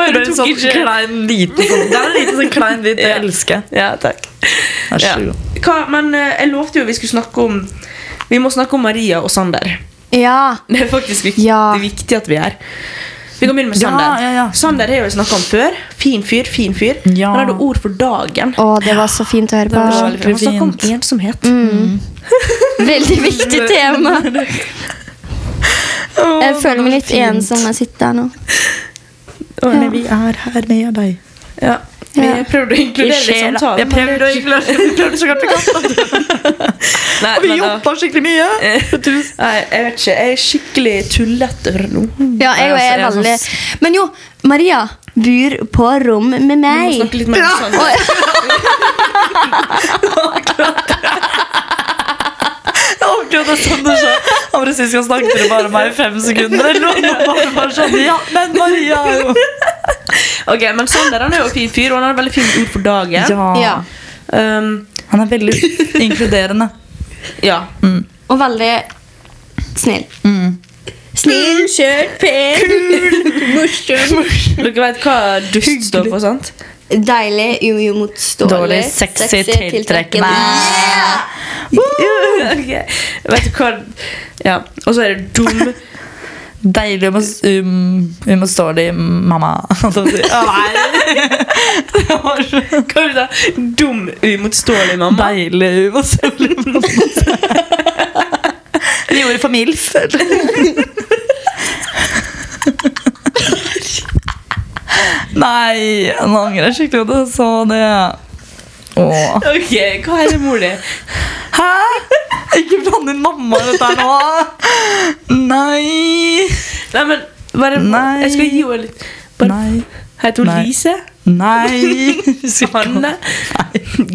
Speaker 2: Oi,
Speaker 3: Det
Speaker 2: du
Speaker 3: er en
Speaker 2: tok
Speaker 3: sånn
Speaker 2: ikke
Speaker 3: klein, liten sånn. Det er en liten sånn klein bit jeg
Speaker 2: Ja.
Speaker 3: elsker.
Speaker 2: Ja, takk
Speaker 3: Vær
Speaker 2: ja.
Speaker 3: så god.
Speaker 2: Hva, Men eh, jeg lovte jo vi skulle snakke om Vi må snakke om Maria og Sander
Speaker 4: Ja.
Speaker 2: Det er faktisk viktig,
Speaker 4: Ja.
Speaker 2: det er viktig at vi er Vi kan begynne med
Speaker 3: Ja,
Speaker 2: Sander
Speaker 3: ja, ja.
Speaker 2: Sander har jo snakket om før Fin fyr, fin fyr
Speaker 3: Ja.
Speaker 2: Han hadde ord for dagen
Speaker 4: Å, det var så fint å høre
Speaker 3: var
Speaker 4: på.
Speaker 3: så-
Speaker 2: Han snakket om
Speaker 3: fint.
Speaker 2: ensomhet
Speaker 3: Mm.
Speaker 4: Veldig viktig tema. Jeg føler meg litt ensom når jeg sitter her nå.
Speaker 3: Men vi er her med deg.
Speaker 2: Ja, vi
Speaker 4: Ja.
Speaker 2: prøvde å inkludere det i samtalen.
Speaker 3: Jeg prøvde å inkludere vi klarte så godt vi kan.
Speaker 2: Nei,
Speaker 3: Og vi
Speaker 2: men da-
Speaker 3: jobba skikkelig mye.
Speaker 2: Nei, jeg vet ikke. Jeg er skikkelig tullete fra nå.
Speaker 3: Ja,
Speaker 4: Ja, jeg og jeg er
Speaker 3: altså, jeg
Speaker 4: veldig
Speaker 3: er
Speaker 4: Men jo, Maria bor på rom med
Speaker 2: Vi må
Speaker 4: meg.
Speaker 2: snakke litt mer om sånn.
Speaker 4: Å,
Speaker 3: det er sånn du sa. Han bare sist gang snakket dere bare om meg i fem sekunder. Eller noe, og bare, bare sånn, ja, men Maria er jo
Speaker 2: Ok, men Sander han er jo en fin fyr, og han har et veldig fint ord for dagen.
Speaker 4: Ja.
Speaker 2: Um,
Speaker 3: Han er veldig inkluderende.
Speaker 2: ja.
Speaker 3: Mm.
Speaker 4: Og veldig snill. Snill, skjørt, pen, morsom.
Speaker 2: Dere vet hva dust står for, sant?
Speaker 4: Deilig, uimotståelig.
Speaker 3: Dårlig, sexy, tiltrekkende.
Speaker 2: Ok. Vet du hva Ja. Og så er det dum.
Speaker 3: Deilig og um, uimotståelig mamma. holdt jeg på å si.
Speaker 2: Hva er det da? Dum, uimotståelig mamma.
Speaker 3: Deilig uimotståelig mamma. Vi gjorde for MILF. Nei, nå angrer jeg skikkelig på det, så det Åh.
Speaker 2: Ok, Hva er det mor di?
Speaker 3: Hæ? Ikke bland inn mamma i dette her nå! Nei.
Speaker 2: Nei, men bare,
Speaker 3: Nei.
Speaker 2: Jeg skal gi henne litt bare,
Speaker 3: Nei.
Speaker 2: Heter hun
Speaker 3: Nei.
Speaker 2: Lise?
Speaker 3: Nei.
Speaker 2: Hanne?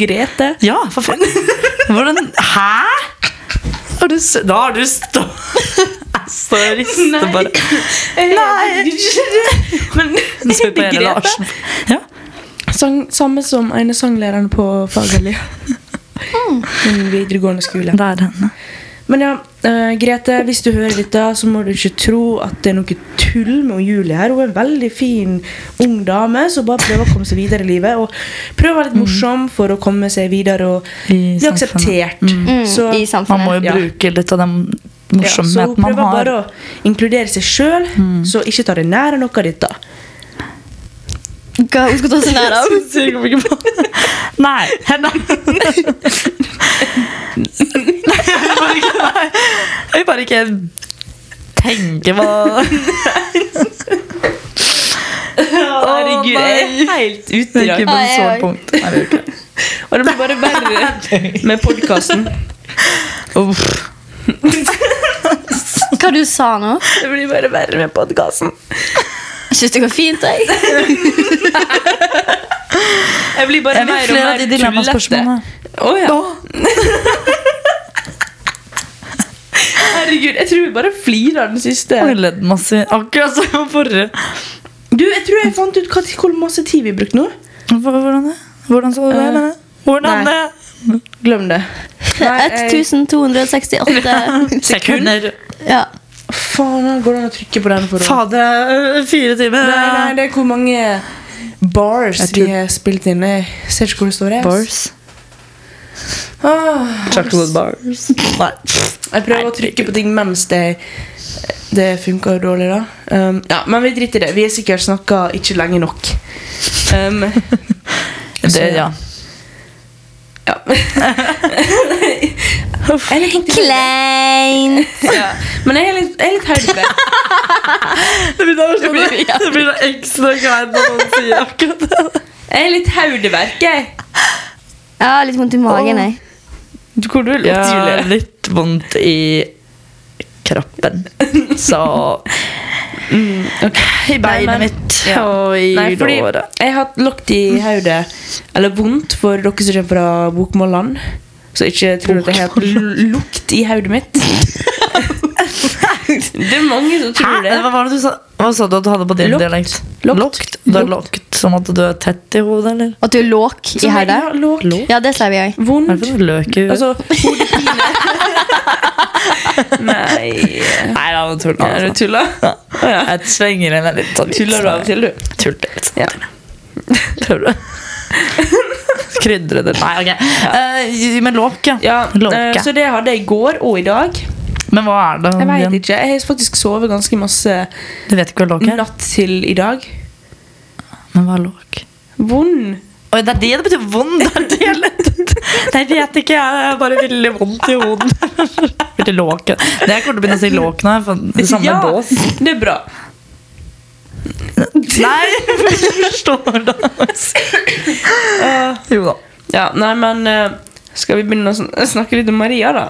Speaker 2: Grete?
Speaker 3: Ja, for faen. Hvordan Hæ? Har du s- Da har du stå... Så rister
Speaker 2: Nei.
Speaker 3: bare
Speaker 2: Nei! Men
Speaker 3: Nå skal vi på
Speaker 2: er det
Speaker 3: hele
Speaker 2: Grete?
Speaker 3: Larsen. Ja.
Speaker 2: Sang, samme som en av sanglærerne på Fagerli. Mm. Videregående skole.
Speaker 3: Det er henne.
Speaker 2: Men ja, eh, Grete, hvis du hører dette, så må du ikke tro at det er noe tull med Julie her. Hun er en veldig fin ung dame som bare prøver å komme seg videre i livet. Og prøver å være litt morsom for å komme seg videre og
Speaker 3: Mm. I
Speaker 2: bli akseptert.
Speaker 4: Mm,
Speaker 2: Så,
Speaker 4: I
Speaker 2: ja,
Speaker 3: Man må
Speaker 4: samfunnet.
Speaker 3: jo
Speaker 2: Ja.
Speaker 3: bruke litt av den
Speaker 2: så
Speaker 3: morsomheten
Speaker 2: hun
Speaker 3: man
Speaker 2: prøver
Speaker 3: har. Mm.
Speaker 2: bare å inkludere seg sjøl, så ikke ta det nære noe av dette.
Speaker 4: Hva hun skal ta seg nær av.
Speaker 3: Nei. Henne. Jeg vil bare ikke tenke på
Speaker 2: Herregud, jeg er helt ute i
Speaker 3: Ikke
Speaker 2: dag.
Speaker 3: på et
Speaker 4: Oi,
Speaker 3: sånt
Speaker 4: oi.
Speaker 3: punkt. Nei, det gjør ikke.
Speaker 2: Og det blir bare verre med podkasten.
Speaker 3: Uff.
Speaker 4: Hva du sa nå?
Speaker 2: Det blir bare verre med podkasten.
Speaker 4: Jeg syns det går fint, jeg.
Speaker 2: Jeg blir bare
Speaker 3: Jeg vil
Speaker 2: mer og mer
Speaker 3: flere av de
Speaker 2: tullete.
Speaker 3: dilemmaspørsmålene.
Speaker 2: Å ja. Herregud, jeg tror vi bare flirer av den siste.
Speaker 3: Jeg har ledd masse. Akkurat som forrige.
Speaker 2: Du, jeg tror jeg fant ut hva, hvor masse tid vi brukte nå.
Speaker 3: Hva- Hvordan det? Hvordan så du det?
Speaker 2: Eh,
Speaker 3: Hvordan
Speaker 2: nei.
Speaker 3: det?
Speaker 2: Glem det. Nei, jeg-
Speaker 4: 1268.
Speaker 3: Sekunder.
Speaker 4: Ja.
Speaker 2: Faen, da går det an å trykke på den for å
Speaker 3: Fader, øh, fire timer.
Speaker 2: Nei, nei, det er hvor mange bars
Speaker 3: Jeg
Speaker 2: de
Speaker 3: tror-
Speaker 2: har spilt inn. Jeg ser ikke hvor det står. Jeg.
Speaker 3: Bars.
Speaker 2: Ah,
Speaker 3: Chocolate bars. Nei.
Speaker 2: jeg prøver å trykke på ting mens det, det funker dårlig, da. Um, ja, men vi driter i det. Vi har sikkert snakka ikke lenge nok. Um,
Speaker 3: Det, ja.
Speaker 2: Ja. Jeg er litt opptatt av-
Speaker 4: Klein.
Speaker 2: Ja. Men jeg er litt, jeg er litt høydere.
Speaker 3: Det blir sånn. da det blir da ekstra kleint når noen sier akkurat det.
Speaker 2: Jeg er litt høydeverk, jeg.
Speaker 4: Jeg har litt vondt i magen, jeg.
Speaker 2: Hvor du
Speaker 3: Jeg har litt vondt i kroppen. Så I
Speaker 2: Mm, Nei,
Speaker 3: beinet
Speaker 2: men-
Speaker 3: mitt
Speaker 2: Ja.
Speaker 3: og i
Speaker 2: Nei, fordi
Speaker 3: låret.
Speaker 2: jeg har hatt lokt i hodet. Eller vondt, for dere som kommer fra bokmålland. Så ikke tror at jeg har hatt l- lukt i hodet mitt. Det er mange som tror
Speaker 3: Hæ?
Speaker 2: det.
Speaker 3: Hva var det du sa? Hva sa du at du hadde på din
Speaker 2: Lokt.
Speaker 3: dialekt?
Speaker 2: Lokt.
Speaker 3: Lokt. Det er lokt. Som at du er tett i hodet, eller?
Speaker 4: At du er låk i
Speaker 2: Som jeg-
Speaker 4: hodet.
Speaker 2: ja, låk.
Speaker 4: Ja, det slår jeg òg.
Speaker 3: Hva er det
Speaker 2: Vondt.
Speaker 3: for noe løk i hodet?
Speaker 2: Altså, hodepine. Nei
Speaker 3: Nei, da, men
Speaker 2: Er
Speaker 3: tull,
Speaker 2: du
Speaker 3: altså.
Speaker 2: tulla? Å ja.
Speaker 3: Jeg slenger inn en litt sånn
Speaker 2: Tuller du av og til, du?
Speaker 3: Tuller litt sånn.
Speaker 2: Ja.
Speaker 3: Tør du? Krydre det Nei, ok. Eh, men låk, ja.
Speaker 2: Ja,
Speaker 3: Låke.
Speaker 2: eh, så det hadde jeg i går og i dag.
Speaker 3: Men hva er det?
Speaker 2: Jeg vet
Speaker 3: igjen?
Speaker 2: ikke. Jeg har faktisk sovet ganske masse
Speaker 3: Du vet ikke hva låk er?
Speaker 2: natt til i dag.
Speaker 3: Men hva er låk?
Speaker 2: Vond.
Speaker 3: Oi, det er det det betyr vond! Det er det jeg lette etter. Nei, jeg vet ikke, jeg er bare veldig vondt i hodet. Veldig låk. Det jeg kommer til å begynne å si låk nå. For det samme
Speaker 2: ja,
Speaker 3: bås.
Speaker 2: Det er bra.
Speaker 3: Nei, jeg forstår det.
Speaker 2: Eh,
Speaker 3: Jo da.
Speaker 2: ja, nei, men eh, skal vi begynne å sn- eh, snakke litt om Maria, da?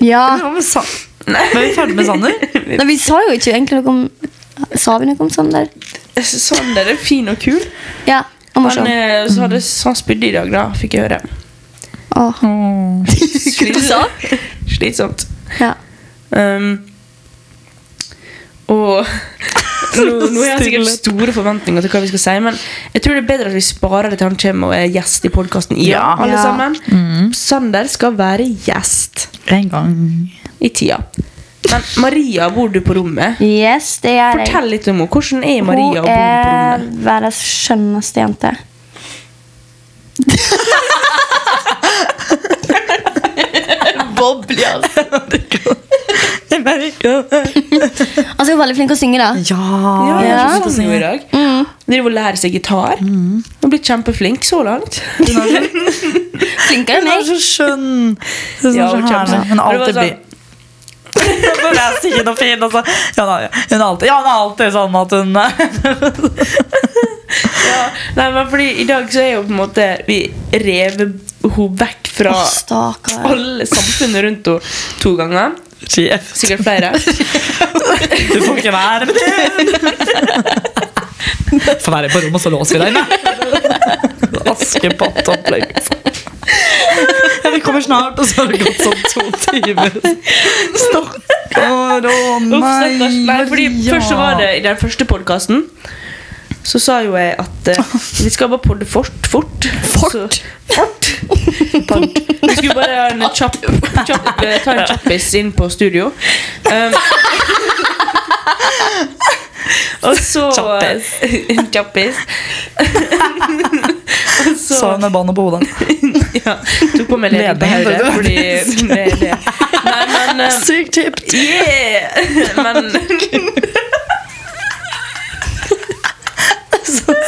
Speaker 4: Ja.
Speaker 3: Ja, men sa... Var vi ferdig med Sander?
Speaker 4: Nei, vi sa jo ikke egentlig noe om Sa vi noe om sånn der?
Speaker 2: Sander Eh, sånn, er fin og kul.
Speaker 4: Ja. Og
Speaker 2: Han,
Speaker 4: morsom.
Speaker 2: eh, så
Speaker 3: Mm.
Speaker 2: hadde så han spydde i eh, dag, da, fikk jeg høre.
Speaker 4: Åh.
Speaker 2: Slitsomt. Slitsomt.
Speaker 4: Ja.
Speaker 2: Um, og nå, nå har jeg sikkert store forventninger til hva vi skal si, men jeg tror det er bedre at vi sparer det til han kommer og er gjest i podkasten igjen.
Speaker 3: Ja.
Speaker 2: alle
Speaker 4: Ja.
Speaker 2: sammen. Sander skal være gjest
Speaker 3: En gang.
Speaker 2: i tida. Men Maria, bor du på rommet?
Speaker 4: Yes, det gjør jeg.
Speaker 2: Fortell litt om henne. Hvordan er Maria å
Speaker 4: Hun
Speaker 2: bo på
Speaker 4: er
Speaker 2: rommet?
Speaker 4: verdens skjønneste jente. Boble, altså. Altså, Hun er veldig flink til å synge, da.
Speaker 2: Ja, sånn
Speaker 3: Ja.
Speaker 2: jeg
Speaker 4: Ja. Mm.
Speaker 2: har så lyst til å si noe i dag. Driver og lærer seg gitar. Hun har blitt kjempeflink så langt.
Speaker 4: Flinkere enn
Speaker 3: Hun er
Speaker 4: meg.
Speaker 3: så skjønn. Hun er
Speaker 2: Ja,
Speaker 3: så
Speaker 2: hun er
Speaker 3: herlig.
Speaker 2: kjempe- Men
Speaker 3: Hun er
Speaker 2: det
Speaker 3: alltid
Speaker 2: var
Speaker 3: blid. Hun er så fin og fin. og så- Ja, hun er- hun er alltid, ja, hun er alltid sånn at hun
Speaker 2: Ja, nei, men fordi I dag så er jo på en måte Vi rever henne vekk fra
Speaker 4: Å, Stakkar.
Speaker 2: alle samfunnet rundt henne to ganger.
Speaker 3: Sjef.
Speaker 2: Sikkert flere.
Speaker 3: Du får ikke være med det! Få være på rommet, så låser vi deg inne. Askepott-opplegg. Ja, vi kommer snart, og så har det gått sånn to timer. Stakkar, å nei.
Speaker 2: Uff, stakkars. Nei, fordi
Speaker 3: Maria.
Speaker 2: Først så var det i den første podkasten. Så sa jo jeg at eh, vi skal bare podde fort. Fort. Så, fort. Pod. Vi skulle bare ha en kjapp, kjapp, eh, ta en kjappis inn på studio. Um, og så eh,
Speaker 3: Kjappis.
Speaker 2: En kjappis. og så
Speaker 3: Sa hun med båndet på hodet.
Speaker 2: ja, tok på meg leden på
Speaker 3: Leden,
Speaker 2: høyre
Speaker 3: vet du.
Speaker 2: fordi det er det. Nei, men eh,
Speaker 3: Sykt kjipt.
Speaker 2: Yeah! Men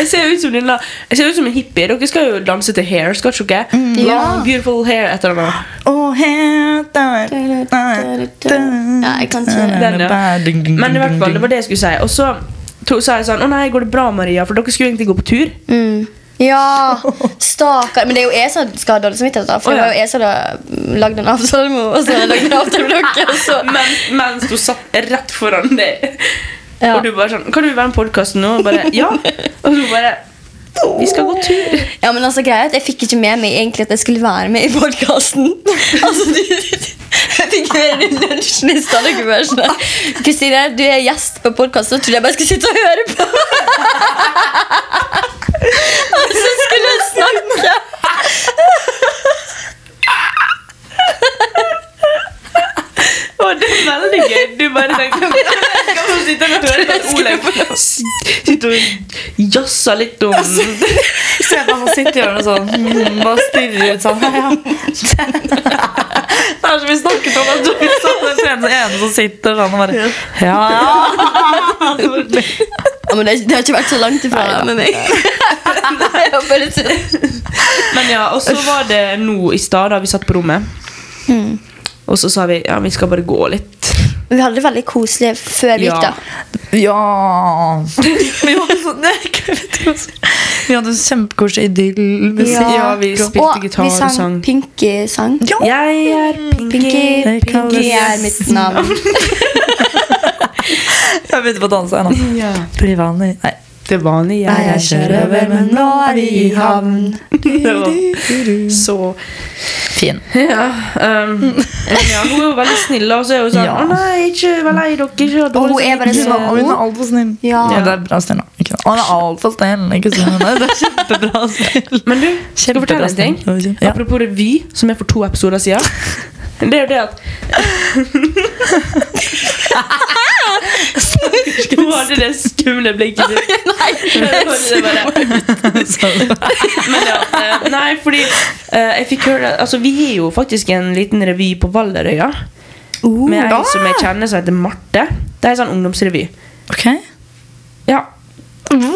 Speaker 2: Jeg ser ut som den la- Jeg ser ut som en hippie. Dere skal jo danse til hair. skal dere ikke?
Speaker 4: Mm.
Speaker 2: Long, beautiful hair et eller annet.
Speaker 4: Ja, jeg kan ikke
Speaker 2: Den, ja. Men i hvert fall, det var det jeg skulle si. Og så to, sa jeg sånn Å nei, går det bra, Maria? For dere skulle egentlig gå på tur.
Speaker 4: Mm. Ja, stakkar. Men det er jo jeg som skal ha dårlig samvittighet. da, For
Speaker 2: Å,
Speaker 4: det
Speaker 2: ja.
Speaker 4: var jo jeg som hadde lagd en avtale med henne. Og så hadde jeg lagd en avtale med dere. og Så.
Speaker 2: Men, mens du satt rett foran deg.
Speaker 4: Ja.
Speaker 2: Og du bare sånn Kan du være med i podkasten nå? Og bare Ja. Og så bare Vi skal gå tur.
Speaker 4: Ja, men altså, greia er at Jeg fikk ikke med meg egentlig at jeg skulle være med i podkasten. Altså, du- jeg fikk med meg lunsjen i stad. dere var sånn der, Kristine, du er gjest på podkast, så trodde jeg bare skulle sitte og høre på. Og så skulle jeg snakke.
Speaker 2: Og det er veldig gøy. Du bare tenker Jeg kan sitte og høre på Olaug sitte og jazze litt om
Speaker 3: Se på han som sitter i hjørnet sånn hmm, Bare stirrer ut sånn ja, ja. Det er som vi snakket om at du satt den ene, ene som sitter sånn og bare Ja, ja
Speaker 4: Ja, men det, det har ikke vært så langt ifra med meg. Jeg har bare sittet-
Speaker 2: Men ja, og så var det nå i stad, da vi satt på rommet, og så sa vi ja, vi skal bare gå litt.
Speaker 4: Vi hadde det veldig koselig før vi gikk, da.
Speaker 2: Ja.
Speaker 3: Ja Vi hadde sånn Nei, jeg vet ikke hva jeg sånn- skal si. Vi hadde kjempekoselig idyll musikk.
Speaker 2: Ja, vi spilte gitar og
Speaker 4: Og vi sang
Speaker 2: sang.
Speaker 4: Pinky-sang.
Speaker 3: Ja.
Speaker 2: Jeg er
Speaker 4: Pinky,
Speaker 3: Det kalles-
Speaker 4: Pinky er mitt navn.
Speaker 3: Jeg begynte på å danse ennå
Speaker 2: ja.
Speaker 3: Bli vanlig Nei
Speaker 2: Det vanlige jeg er sjørøver, men nå er vi i havn. Det var så
Speaker 3: Fin
Speaker 2: Ja, um, men ja hun er jo veldig snill, og så er hun sånn
Speaker 3: Ja.
Speaker 2: Å nei, ikke vær lei dere. ikke ha
Speaker 4: Og hun
Speaker 2: dårlig
Speaker 4: er bare
Speaker 2: samvittighet.»
Speaker 4: så
Speaker 3: Og hun er alt for snill
Speaker 4: Ja.
Speaker 3: det er bra snill da. Ikke sant? Og hun er alt for snill Ikke sant? Nei, det er kjempebra snill
Speaker 2: Men du, skal jeg fortelle en ting?
Speaker 3: Kjempebra stemning. Ja.
Speaker 2: Apropos revy, som er for to episoder siden. Det er jo det at Hun hadde det skumle blikket sitt. Det var det bare. Men ja, eh, nei, fordi eh, jeg fikk høre Altså, vi har jo faktisk en liten revy på Valderøya. Med ei som jeg kjenner som heter Marte. Det er en sånn ungdomsrevy.
Speaker 3: Ok
Speaker 2: Ja,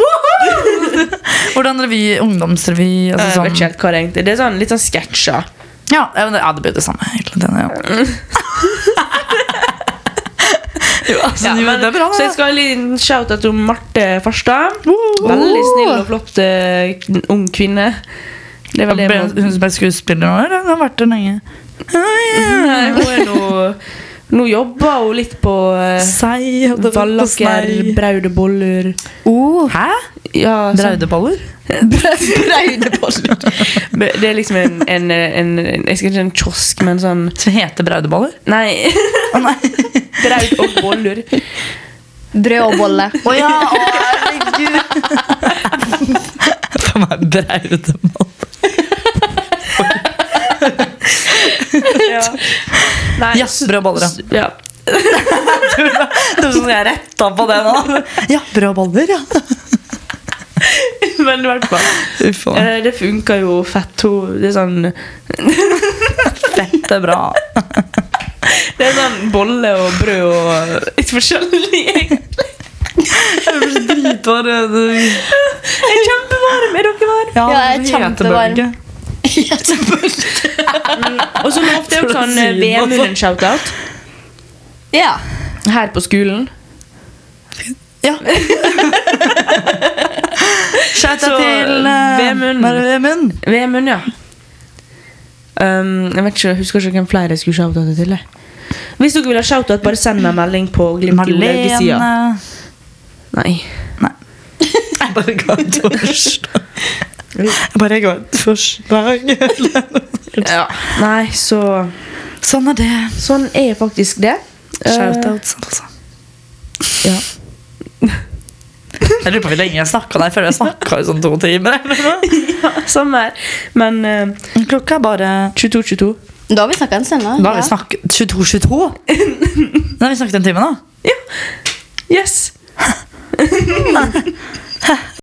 Speaker 3: Hvordan revy, ungdomsrevy altså
Speaker 2: jeg
Speaker 3: sånn.
Speaker 2: vet ikke helt hva det er egentlig Det er sånn, litt sånn sketsjer.
Speaker 3: Ja, ja, men det, ja, det blir det samme egentlig, den, ja. jo, altså,
Speaker 2: Ja,
Speaker 3: jo,
Speaker 2: men-
Speaker 3: det er bra
Speaker 2: Så jeg skal ha en liten shout-out til Marte Farstad. Veldig snill og flott eh, kn- ung kvinne. Det er vel det
Speaker 3: Ble-
Speaker 2: man-
Speaker 3: Hun som er skuespiller nå, eller? Hun har vært det lenge
Speaker 2: Nei, Hun er nå Nå jobber hun litt på eh,
Speaker 3: Sei og
Speaker 2: Vallaker, braudeboller
Speaker 3: Hæ? Altså-
Speaker 2: ja, sånn.
Speaker 3: Braudeballer?
Speaker 4: Braudeballer.
Speaker 2: Det er liksom en, en, en, en Jeg skal ikke si en kiosk, men sånn
Speaker 3: Som heter braudeballer?
Speaker 2: Nei,
Speaker 3: Å nei.
Speaker 2: braud og boller.
Speaker 4: Brød og bolle.
Speaker 3: Å ja! Å, herregud. For meg braudeballer.
Speaker 2: Ja. Nei,
Speaker 3: Jasper og baller, ja.
Speaker 2: ja.
Speaker 3: Det var sånn jeg retta på det nå. Japper og baller, ja.
Speaker 2: Men i hvert fall.
Speaker 3: Uff a meg.
Speaker 2: Eh, Det funker jo fett. Hun- Det er sånn
Speaker 3: Fett er bra.
Speaker 2: Det er sånn bolle og brød og litt forskjellig. egentlig.
Speaker 3: eh, Dritvarm.
Speaker 2: Jeg er kjempevarm! Er dere varme?
Speaker 3: Ja,
Speaker 4: jeg er kjempevarm.
Speaker 3: hetebølge.
Speaker 2: Og så lovte jeg også han eh, Vemund en shoutout
Speaker 4: Ja.
Speaker 2: her på skolen.
Speaker 3: Ja. Shout
Speaker 2: Så,
Speaker 3: out til eh,
Speaker 2: Vemund.
Speaker 3: Bare Vemund.
Speaker 2: Vemund, ja. Um, jeg vet ikke, jeg husker ikke hvem flere jeg skulle shoutoutet til. jeg. Hvis dere vil ha shoutout, bare send meg en melding på Glimt i Olaugesida.
Speaker 3: Marlene.
Speaker 2: Nei.
Speaker 3: Jeg bare ga et forslag. Jeg bare ga et forslag.
Speaker 2: Ja. Nei, så
Speaker 3: Sånn er det.
Speaker 2: Sånn er faktisk det. Eh,
Speaker 3: Shoutouts, altså.
Speaker 2: Ja.
Speaker 3: Jeg lurer på hvor lenge jeg snakka. Jeg føler jeg snakka i sånn to timer. eller noe.
Speaker 2: Eh, Samme her. Men eh,
Speaker 3: Klokka er bare
Speaker 2: 22-22.
Speaker 4: Da har vi snakka en stund,
Speaker 3: Da har vi snakket 22-22. Da har vi snakket en time, da.
Speaker 2: Ja. Yes.